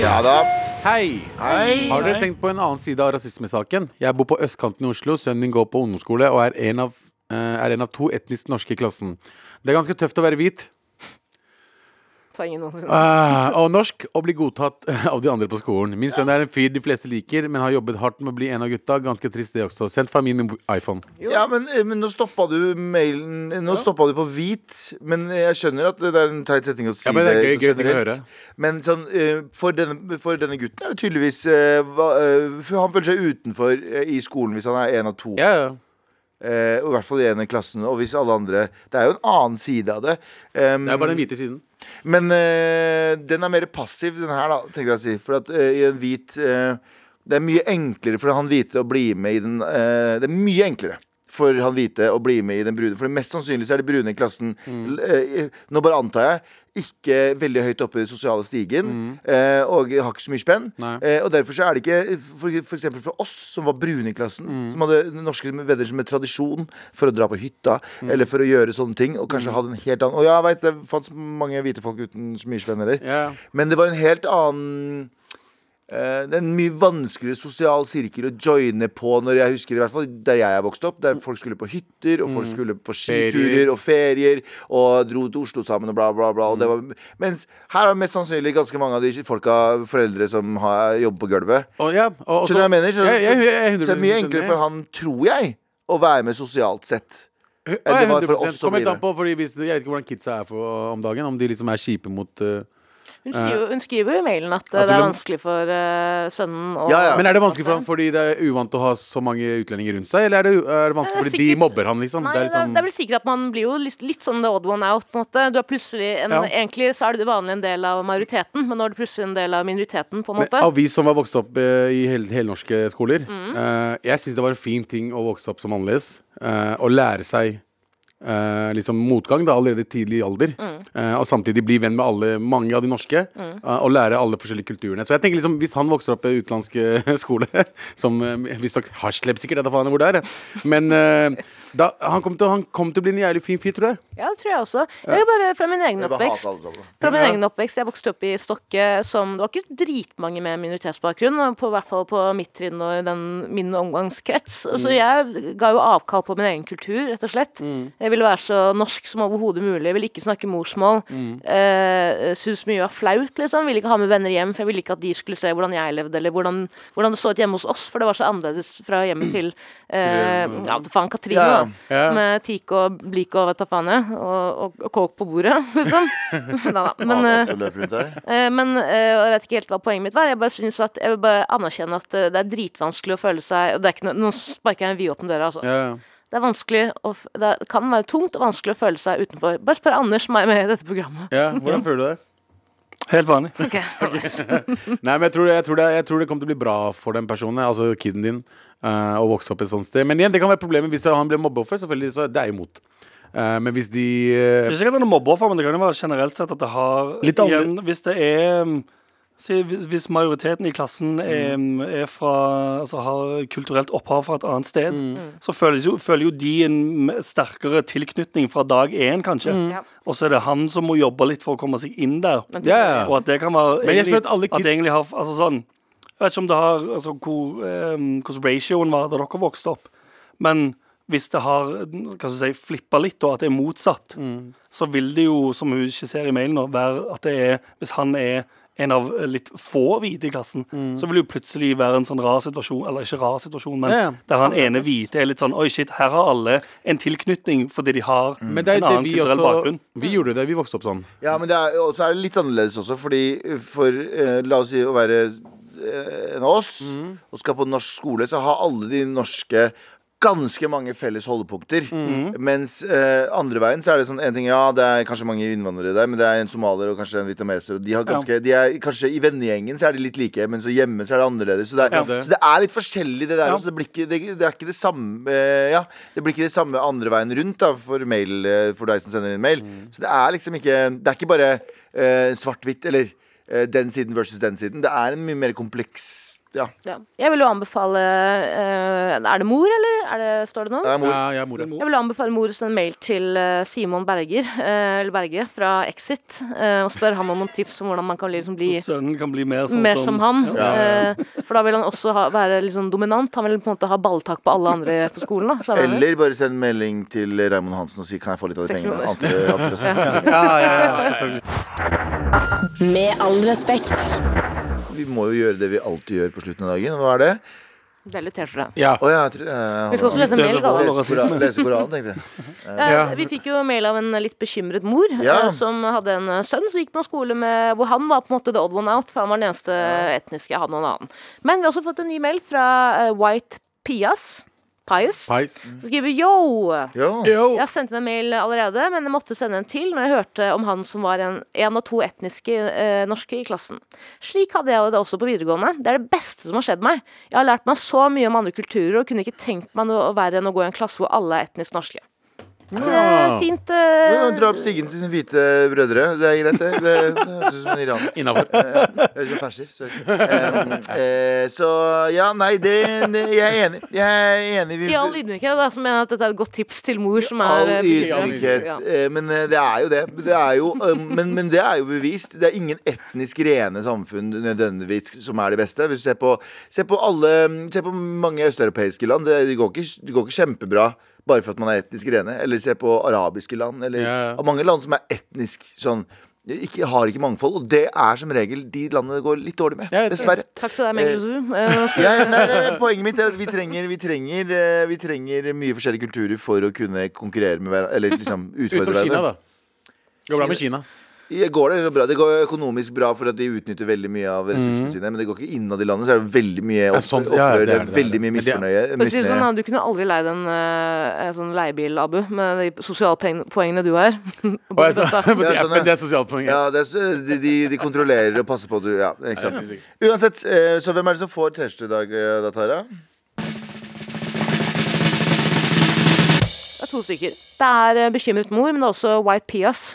[SPEAKER 3] Ja da.
[SPEAKER 5] Hei!
[SPEAKER 3] Hei.
[SPEAKER 5] Har dere tenkt på en annen side av rasismesaken? Jeg bor på østkanten i Oslo, sønnen min går på ungdomsskole og er en av, eh, er en av to etnisk norske i klassen. Det er ganske tøft å være hvit
[SPEAKER 2] Sa ingen noensinne.
[SPEAKER 5] eh, og norsk og bli godtatt av de andre på skolen. Min sønn er en fyr de fleste liker, men har jobbet hardt med å bli en av gutta. Ganske trist det også. Sendt fra min iPhone.
[SPEAKER 3] Ja, men, eh, men nå stoppa du mailen Nå stoppa du på hvit, men jeg skjønner at det er en teit setning å si
[SPEAKER 5] Ja, men det er
[SPEAKER 3] det
[SPEAKER 5] gøy-
[SPEAKER 3] sånn
[SPEAKER 5] gøy ting å
[SPEAKER 3] generelt.
[SPEAKER 5] høre.
[SPEAKER 3] Men sånn, eh, for, denne, for denne gutten er det tydeligvis eh, hva, eh, for Han føler seg utenfor eh, i skolen hvis han er en av to.
[SPEAKER 5] Ja, ja.
[SPEAKER 3] Eh, og I hvert fall i en av klassen. Og hvis alle andre Det er jo en annen side av det. Eh,
[SPEAKER 5] Det er bare den hvite siden.
[SPEAKER 3] Men eh, den er mer passiv, den her, da, tenker jeg å si. For at eh, i en hvit eh, Det er mye enklere for han hvite å bli med i den eh, Det er mye enklere for han hvite å bli med i den brune. For mest sannsynlig så er de brune i klassen l- eh, Nå bare antar jeg. Ikke veldig høyt oppe i den sosiale stigen, eh, og har ikke så mye spenn.
[SPEAKER 5] Nei.
[SPEAKER 3] Eh, og derfor så er det ikke for, for eksempel for oss som var brune i klassen, som hadde norske venner som en tradisjon for å dra på hytta, eller for å gjøre sånne ting, og kanskje hadde en helt annen Og ja, jeg vet, det fantes mange hvite folk uten så mye spenn heller.
[SPEAKER 5] Ja.
[SPEAKER 3] Men det var en helt annen eh, det er en mye vanskeligere sosial sirkel å joine på når jeg husker i hvert fall der jeg er vokst opp. Der folk skulle på hytter, og folk skulle på skiturer
[SPEAKER 5] Mm. Ferier.
[SPEAKER 3] og ferier, og dro til Oslo sammen og bla, bla, bla. Og det var, mens her er mest sannsynlig ganske mange av de folka, foreldre, som har jobber på gulvet.
[SPEAKER 5] Og, ja, og, og
[SPEAKER 3] Skjønner du hva jeg mener? Så,
[SPEAKER 5] Ja, jeg- jeg er 100%
[SPEAKER 3] så det er mye enklere
[SPEAKER 5] enig.
[SPEAKER 3] for han, tror jeg, å være med sosialt sett.
[SPEAKER 5] Hu-
[SPEAKER 3] Ja, det var for
[SPEAKER 5] 100%.
[SPEAKER 3] oss som
[SPEAKER 5] Kom helt
[SPEAKER 3] blir
[SPEAKER 5] an på, fordi hvis, Jeg vet ikke hvordan kidsa er for, om dagen. Om de liksom er kjipe mot eh,
[SPEAKER 2] Hun skriver, jo- hun skriver jo i mailen at eh,
[SPEAKER 5] At
[SPEAKER 2] det er
[SPEAKER 5] hun-
[SPEAKER 2] vanskelig for eh, sønnen å
[SPEAKER 3] Ja, ja.
[SPEAKER 5] Men er det vanskelig for ham fordi det er uvant å ha så mange utlendinger rundt seg, eller er det, er det vanskelig
[SPEAKER 2] Det er
[SPEAKER 5] fordi de
[SPEAKER 2] Eh, sikkert-
[SPEAKER 5] mobber han, liksom?
[SPEAKER 2] Nei,
[SPEAKER 5] det er liksom
[SPEAKER 2] vel sikkert at man blir jo litt, litt sånn the odd one out, på en måte. Du er plutselig en,
[SPEAKER 5] Ja.
[SPEAKER 2] Egentlig så er du vanlig en del av majoriteten, men nå er du plutselig en del av minoriteten, på en
[SPEAKER 5] men
[SPEAKER 2] måte. Mm.
[SPEAKER 5] av vi som var vokst opp eh, i hel, helnorske skoler, eh, jeg syns det var en fin ting å vokse opp som annerledes. eh, Å lære seg eh, liksom motgang da, allerede i tidlig alder.
[SPEAKER 2] Mm.
[SPEAKER 5] eh, og samtidig bli venn med alle, mange av de norske. eh, og lære alle forskjellige kulturene. Så jeg tenker liksom, hvis han vokser opp i utenlandsk eh, skole, som eh, visstnok Haslep sikkert, jeg vet da faen hvor det er, men eh, da, han kom til, han kom til å bli en jævlig fin fyr, tror jeg.
[SPEAKER 2] Ja, det tror jeg også. Jeg er bare fra min egen
[SPEAKER 3] Jeg bare hater alle
[SPEAKER 2] oppvekst.
[SPEAKER 3] sammen.
[SPEAKER 2] Fra min egen oppvekst, Jeg vokste opp i Stokke, som det var ikke dritmange med minoritetsbakgrunn. På hvert fall på mitt trinn og i den, min omgangskrets. Så jeg ga jo avkall på min egen kultur, rett og slett. Jeg ville være så norsk som overhodet mulig. Jeg ville ikke snakke morsmål. Eh, Syns mye var flaut, liksom. Ville ikke ha med venner hjem, for jeg ville ikke at de skulle se hvordan jeg levde, eller hvordan, hvordan det så ut hjemme hos oss, for det var så annerledes fra hjemmet til eh, Ja, faen, Katrine,
[SPEAKER 3] Ja.
[SPEAKER 2] da.
[SPEAKER 5] Ja.
[SPEAKER 2] Med teak og blik og vet da faen jeg, og, og, og coke på bordet, liksom. Neida. Men,
[SPEAKER 3] Aner at
[SPEAKER 2] eh,
[SPEAKER 3] du løper rundt her.
[SPEAKER 2] eh, men eh, og jeg vet ikke helt hva poenget mitt var. Jeg bare synes at, jeg vil bare anerkjenne at eh, det er dritvanskelig å føle seg og det er ikke noe, Nå sparker jeg en vidåpen dør, altså.
[SPEAKER 5] Ja, ja.
[SPEAKER 2] Det er vanskelig å, f- Det er- kan være tungt og vanskelig å føle seg utenfor. Bare spør Anders, som er med i dette programmet.
[SPEAKER 5] ja, hvordan føler du det?
[SPEAKER 4] Helt vanlig.
[SPEAKER 2] Ok, nice.
[SPEAKER 5] Nei, men jeg tror, jeg, tror det, jeg tror det kommer til å bli bra for den personen, altså kiden din, eh, å vokse opp et sånt sted. Men igjen, det kan være problemet hvis han blir mobbeoffer, selvfølgelig, så er det er imot. Eh, men hvis de eh,
[SPEAKER 4] Ikke sikkert han er mobbeoffer, men det kan jo være generelt sett at det har
[SPEAKER 5] Litt andre-
[SPEAKER 4] igjen, Hvis det er um, si, hvis, hvis majoriteten i klassen er, mm, er fra Altså har kulturelt opphav fra et annet sted, så føles jo, føler jo de en m- sterkere tilknytning fra dag én, kanskje.
[SPEAKER 2] Ja.
[SPEAKER 4] Og så er det han som må jobbe litt for å komme seg inn der.
[SPEAKER 5] Ja,
[SPEAKER 4] Og
[SPEAKER 5] ja.
[SPEAKER 4] at det kan være
[SPEAKER 5] Men jeg tror at alle
[SPEAKER 4] at
[SPEAKER 5] kid-
[SPEAKER 4] det egentlig har Altså sånn Jeg vet ikke om det har altså, hvor, ehm, hvordan ratioen var da dere vokste opp, men hvis det har hva skal jeg si, flippa litt, og at det er motsatt,
[SPEAKER 5] Mm.
[SPEAKER 4] så vil det jo, som hun skisserer i mailen, nå, være at det er Hvis han er en av litt få hvite i klassen, så vil det jo plutselig være en sånn rar situasjon, eller ikke rar situasjon, men
[SPEAKER 5] Mm. Ja, ja.
[SPEAKER 4] der han ene hvite er litt sånn Oi, shit, her har alle en tilknytning fordi de har
[SPEAKER 5] Mm. Men det er
[SPEAKER 4] en
[SPEAKER 5] jo det
[SPEAKER 4] annen
[SPEAKER 5] vi
[SPEAKER 4] kulturell
[SPEAKER 5] også
[SPEAKER 4] bakgrunn.
[SPEAKER 5] Vi gjorde det, vi vokste opp sånn.
[SPEAKER 3] Ja, men det er, og så er det litt annerledes også, fordi for eh, la oss si å være eh, en av oss, og skal på norsk skole, så har alle de norske ganske mange felles holdepunkter. Mens eh, andre veien så er det sånn en ting, ja, det er kanskje mange innvandrere der, men det er en somalier og kanskje en vietnameser, og de har ganske de er, Kanskje i vennegjengen så er de litt like, men så hjemme så er det annerledes. Så det er,
[SPEAKER 5] Ja, det-
[SPEAKER 3] så det er litt forskjellig, det der
[SPEAKER 4] Ja.
[SPEAKER 3] også. Det, blir ikke, det, det er ikke det samme eh, Ja, det blir ikke det samme andre veien rundt da, for, mail, eh, for deg som sender inn mail. Så det er liksom ikke Det er ikke bare eh, svart-hvitt eller eh, den siden versus den siden. Det er en mye mer kompleks Ja.
[SPEAKER 2] Ja. Jeg vil jo anbefale eh, Er det mor, eller? Er det, står det noe?
[SPEAKER 3] Det er mor.
[SPEAKER 5] Ja, jeg er mora.
[SPEAKER 2] Jeg vil anbefale mor å sende mail til eh, Simon Berger, eh, eller Berge, fra Exit, eh, og spørre ham om noen tips om hvordan man kan liksom bli
[SPEAKER 4] Sønnen kan bli mer sånn
[SPEAKER 2] mer som han.
[SPEAKER 4] Ja.
[SPEAKER 2] eh, For da vil han også ha, være litt sånn dominant. Han vil på en måte ha balltak på alle andre på skolen. Da, skjønner du?
[SPEAKER 3] Eller bare send melding til Raymond Hansen og si Kan jeg få litt av de
[SPEAKER 2] Seks
[SPEAKER 3] pengene?
[SPEAKER 2] kroner.
[SPEAKER 3] Anti- antirasistisk.
[SPEAKER 4] Ja, ja, ja, selvfølgelig.
[SPEAKER 1] Med all respekt.
[SPEAKER 3] Vi må jo gjøre det vi alltid gjør på slutten av dagen. Hva er det?
[SPEAKER 2] Det er litt T-skjorte.
[SPEAKER 5] Ja.
[SPEAKER 3] Å ja, jeg tror- eh,
[SPEAKER 2] Vi skal også lese en mail, Galvan.
[SPEAKER 3] lese Koran- lese Koranen, tenkte jeg.
[SPEAKER 2] Eh, Vi fikk jo mail av en litt bekymret mor
[SPEAKER 3] Ja.
[SPEAKER 2] eh, som hadde en eh, sønn som gikk på en skole med, hvor han var på en måte the odd one out, for han var den eneste etniske jeg hadde noen annen. Men vi har også fått en ny mail fra eh, White Pias. Pius.
[SPEAKER 5] Pies.
[SPEAKER 2] Som skriver yo!
[SPEAKER 3] Jo.
[SPEAKER 5] Yo.
[SPEAKER 2] Jeg har sendt inn en mail allerede, men jeg måtte sende en til når jeg hørte om han som var en, en av to etniske eh, norske i klassen. Slik hadde jeg det også på videregående. Det er det beste som har skjedd meg. Jeg har lært meg så mye om andre kulturer og kunne ikke tenkt meg noe verre enn å gå i en klasse hvor alle er etnisk norske. Det er fint
[SPEAKER 3] Ah. Ja,
[SPEAKER 2] eh,
[SPEAKER 3] Dra opp Siggen til sine hvite brødre. Det er greit, det. Det, det høres ut som en iraner.
[SPEAKER 5] Innafor.
[SPEAKER 3] Høres ut som perser. Sorry. Em, eh, så ja, nei, det, det Jeg er enig. Jeg er enig. Vi,
[SPEAKER 2] I all ydmykhet, da, så mener jeg at dette er et godt tips til mor som er
[SPEAKER 3] all
[SPEAKER 2] eh, bekymret.
[SPEAKER 3] ydmykhet.
[SPEAKER 2] Ja.
[SPEAKER 3] Eh, Men eh, det er jo det. det er jo, eh, men, men det er jo bevist. Det er ingen etnisk rene samfunn nødvendigvis som er de beste. Hvis du ser på, se på, alle, se på mange østeuropeiske land. Det, det, går ikke, det går ikke kjempebra bare for at man er etnisk rene. Eller se på arabiske land. Eller
[SPEAKER 5] Ja, ja.
[SPEAKER 3] av mange land som er etnisk sånn ikke, har ikke mangfold, og det er som regel de landene det går litt dårlig med.
[SPEAKER 5] Ja, jeg-
[SPEAKER 3] Dessverre.
[SPEAKER 2] Takk til deg, Mengel Zoo. Eh,
[SPEAKER 3] Ja, ja, nei, nei, nei, poenget mitt er at vi trenger, vi, trenger, eh, vi trenger mye forskjellige kulturer for å kunne konkurrere med hverandre. Eller liksom utfordre
[SPEAKER 5] Utenom Kina,
[SPEAKER 3] hverandre.
[SPEAKER 5] da. Går bra med Kina.
[SPEAKER 3] Går det, så bra. det går økonomisk bra for at de utnytter veldig mye av ressursene sine, men det går ikke innad i landet, så er det veldig mye opp,
[SPEAKER 5] sånn- Mm. ja, ja,
[SPEAKER 3] opprør,
[SPEAKER 5] det er det, det er
[SPEAKER 3] veldig
[SPEAKER 5] det.
[SPEAKER 3] mye
[SPEAKER 5] Men det er-
[SPEAKER 3] misfornøye.
[SPEAKER 2] For å si det sånn, da,
[SPEAKER 3] misnøye.
[SPEAKER 2] du kunne aldri leid en, eh, en sånn leiebil, Abu, med de sosialpoengene du har.
[SPEAKER 5] Og jeg sa,
[SPEAKER 2] Bondestøtta.
[SPEAKER 3] Ja,
[SPEAKER 5] det, er,
[SPEAKER 3] sånn, ja.
[SPEAKER 5] det er sosialt poeng.
[SPEAKER 3] Ja, det er, så- de, de, de kontrollerer og passer på at du Ja, ikke sant. Uansett, eh, så hvem er det som får T-skjorte i dag, eh, da, Tara?
[SPEAKER 2] Det er to stykker. Det er eh, Bekymret mor, men det er også White Pias.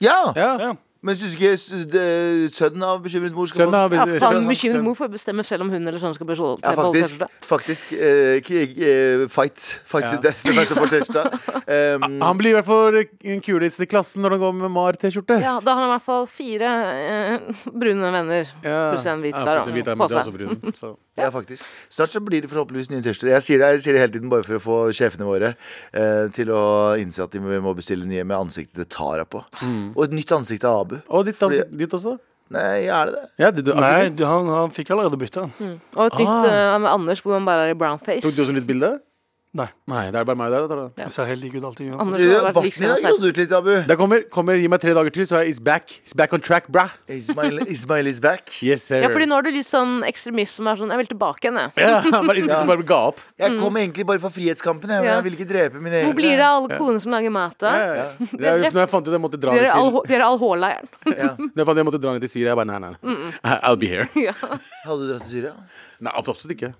[SPEAKER 3] Ja!
[SPEAKER 5] Ja.
[SPEAKER 4] Ja.
[SPEAKER 3] Men syns ikke s- det- sønnen av bekymret mor skal få
[SPEAKER 5] Sønnen av
[SPEAKER 2] Ja, faen,
[SPEAKER 5] Sønnen-
[SPEAKER 2] bekymret mor får bestemme selv om hun eller sønnen skal beholde
[SPEAKER 3] ja,
[SPEAKER 2] beholde
[SPEAKER 3] faktisk.
[SPEAKER 2] T-skjorta.
[SPEAKER 3] faktisk eh, k- eh, fight. Fight to death. Hvem er det som får T-skjorta? Um,
[SPEAKER 5] Han blir i hvert fall den kuleste i klassen når han går med Mar-T-skjorte.
[SPEAKER 2] Ja, da har han i hvert fall fire eh, brune venner. Pluss en hvit der,
[SPEAKER 5] pluss en hvit
[SPEAKER 2] da.
[SPEAKER 5] der, men det er
[SPEAKER 2] På
[SPEAKER 5] også
[SPEAKER 2] seg.
[SPEAKER 5] brun, så.
[SPEAKER 3] Ja, faktisk. Snart så blir det forhåpentligvis nye T-skjorter. Jeg, sier det- jeg sier det hele tiden bare for å få sjefene våre eh, til å innse at de må må bestille nye med ansiktet til Tara på.
[SPEAKER 5] Mm.
[SPEAKER 3] Og et nytt ansikt av Abu.
[SPEAKER 5] Og ditt,
[SPEAKER 3] Fordi-
[SPEAKER 5] ansikt- ditt også?
[SPEAKER 3] Nei, er det det?
[SPEAKER 5] Ja, det, du,
[SPEAKER 4] Nei, du- han, han fikk allerede bytta.
[SPEAKER 2] Og et nytt eh, med Anders, hvor han bare er i brownface.
[SPEAKER 5] Tok du også litt bilde?
[SPEAKER 4] Nei.
[SPEAKER 5] Nei, det er bare meg og deg. da, Tara.
[SPEAKER 4] Jeg ser helt lik ut alltid. uansett.
[SPEAKER 2] Anders har
[SPEAKER 3] Ja,
[SPEAKER 2] vært
[SPEAKER 3] Barten
[SPEAKER 2] liksom
[SPEAKER 3] din har grodd ut litt, Abu.
[SPEAKER 5] Det kommer, kommer, gi meg tre dager til, så er it's back. It's back on track, brah.
[SPEAKER 3] Ismail, Ismail is back.
[SPEAKER 5] Yes, sir.
[SPEAKER 2] Ja, fordi nå er du litt sånn ekstremist som er sånn Jeg vil tilbake igjen, jeg.
[SPEAKER 5] Ja, bare, Ismail som bare ga opp.
[SPEAKER 3] Jeg kom egentlig bare for frihetskampen. Jeg, men
[SPEAKER 2] Ja.
[SPEAKER 3] jeg ville ikke drepe mine
[SPEAKER 2] Hvor
[SPEAKER 3] egne.
[SPEAKER 2] blir det av alle konene som lager mat, da?
[SPEAKER 5] Ja, ja. Det er jo når jeg fant ut jeg måtte dra
[SPEAKER 2] Dere
[SPEAKER 5] ned
[SPEAKER 2] er all-
[SPEAKER 5] til
[SPEAKER 2] dere er all H-leiren.
[SPEAKER 5] Når jeg fant ut jeg måtte dra ned til Syria, jeg bare nei, nei. nei. I'll be here.
[SPEAKER 3] Hadde du dratt til Syria?
[SPEAKER 5] Nei, absolutt ikke.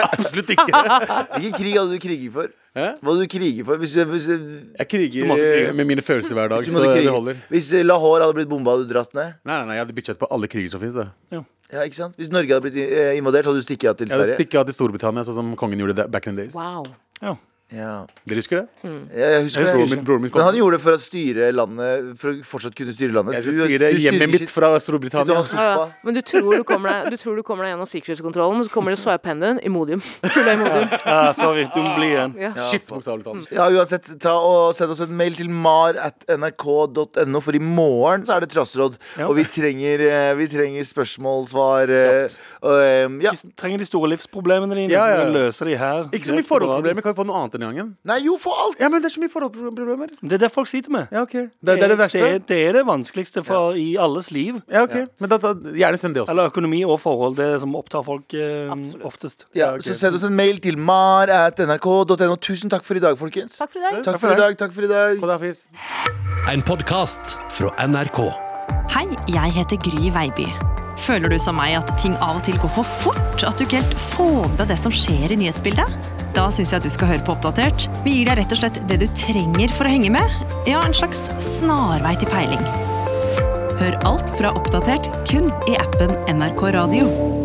[SPEAKER 5] absolutt ikke.
[SPEAKER 3] Hvilken krig hadde du kriget for?
[SPEAKER 5] Hæ?
[SPEAKER 3] Hva hadde du kriget for? Hvis, hvis, hvis,
[SPEAKER 5] Jeg
[SPEAKER 4] Du måtte
[SPEAKER 5] kriger
[SPEAKER 4] krige.
[SPEAKER 5] eh, med mine følelser hver dag,
[SPEAKER 3] du
[SPEAKER 5] så
[SPEAKER 3] måtte
[SPEAKER 5] det
[SPEAKER 3] krige-
[SPEAKER 5] holder.
[SPEAKER 3] hvis Lahore hadde blitt bomba, hadde du dratt ned?
[SPEAKER 5] Nei, nei, nei, jeg hadde byttet på alle kriger som fins. Jeg
[SPEAKER 3] Ja, ikke sant? Hvis Norge hadde blitt eh, invadert, hadde du stikket av til
[SPEAKER 5] hadde
[SPEAKER 3] Sverige?
[SPEAKER 5] stikket av til Storbritannia, sånn som kongen gjorde det back in the days.
[SPEAKER 2] Wow.
[SPEAKER 3] Ja.
[SPEAKER 5] Dere husker det?
[SPEAKER 3] Ja, jeg
[SPEAKER 4] Jeg husker
[SPEAKER 3] husker det.
[SPEAKER 5] Broren min, broren min
[SPEAKER 3] Men han
[SPEAKER 5] kom.
[SPEAKER 3] gjorde det for å styre landet For å fortsatt kunne styre landet.
[SPEAKER 5] Jeg skal styre hjemmet mitt fra
[SPEAKER 3] Du
[SPEAKER 5] Storbritannia.
[SPEAKER 3] har sofa.
[SPEAKER 2] Men du tror du kommer deg, du tror du kommer deg gjennom sikkerhetskontrollen, men så kommer det swipe-hendene i modium. Full av imodium.
[SPEAKER 4] Ja, ah, sorry, du må bli igjen.
[SPEAKER 5] Shit, bokstavelig talt.
[SPEAKER 3] Ja, uansett, ta og Send oss en mail til mar at nrk.no, for i morgen så er det trassråd.
[SPEAKER 4] Ja.
[SPEAKER 3] Og vi trenger, eh, vi trenger spørsmål, svar eh, og, eh, Ja.
[SPEAKER 4] De trenger de store livsproblemene dine,
[SPEAKER 5] Ja,
[SPEAKER 4] så
[SPEAKER 5] ja.
[SPEAKER 4] du kan løse de her.
[SPEAKER 5] Ikke så mye
[SPEAKER 4] direkte på radio.
[SPEAKER 5] forholdsproblemer. Kan vi få noe annet denne gangen?
[SPEAKER 3] Nei, jo, for alt!
[SPEAKER 5] Ja, men det er så mye forholdsproblemer.
[SPEAKER 4] Det er det folk sliter med.
[SPEAKER 5] Ja, ok. Det, det er det verste.
[SPEAKER 4] Det, er- det er det vanskeligste for, i alles liv.
[SPEAKER 5] Ja, ok. Men da, da, gjerne send det også.
[SPEAKER 4] Eller økonomi og forhold. Det er det som opptar folk eh, oftest.
[SPEAKER 3] Ja,
[SPEAKER 5] Ja, ok.
[SPEAKER 3] Så send oss en mail til mar at nrk.no. Tusen takk for i dag, folkens.
[SPEAKER 2] Takk for i dag.
[SPEAKER 3] Takk for i dag. Takk for i dag.
[SPEAKER 5] Ha det, Hafiz.
[SPEAKER 8] En podcast fra NRK.
[SPEAKER 9] Hei, jeg heter Gry Veiby. Føler du som meg at ting av og til går for fort? At du ikke helt får med deg det som skjer i nyhetsbildet? Da syns jeg at du skal høre på Oppdatert. Vi gir deg rett og slett det du trenger for å henge med. Ja, en slags snarvei til peiling.
[SPEAKER 1] Hør alt fra oppdatert kun i appen NRK Radio.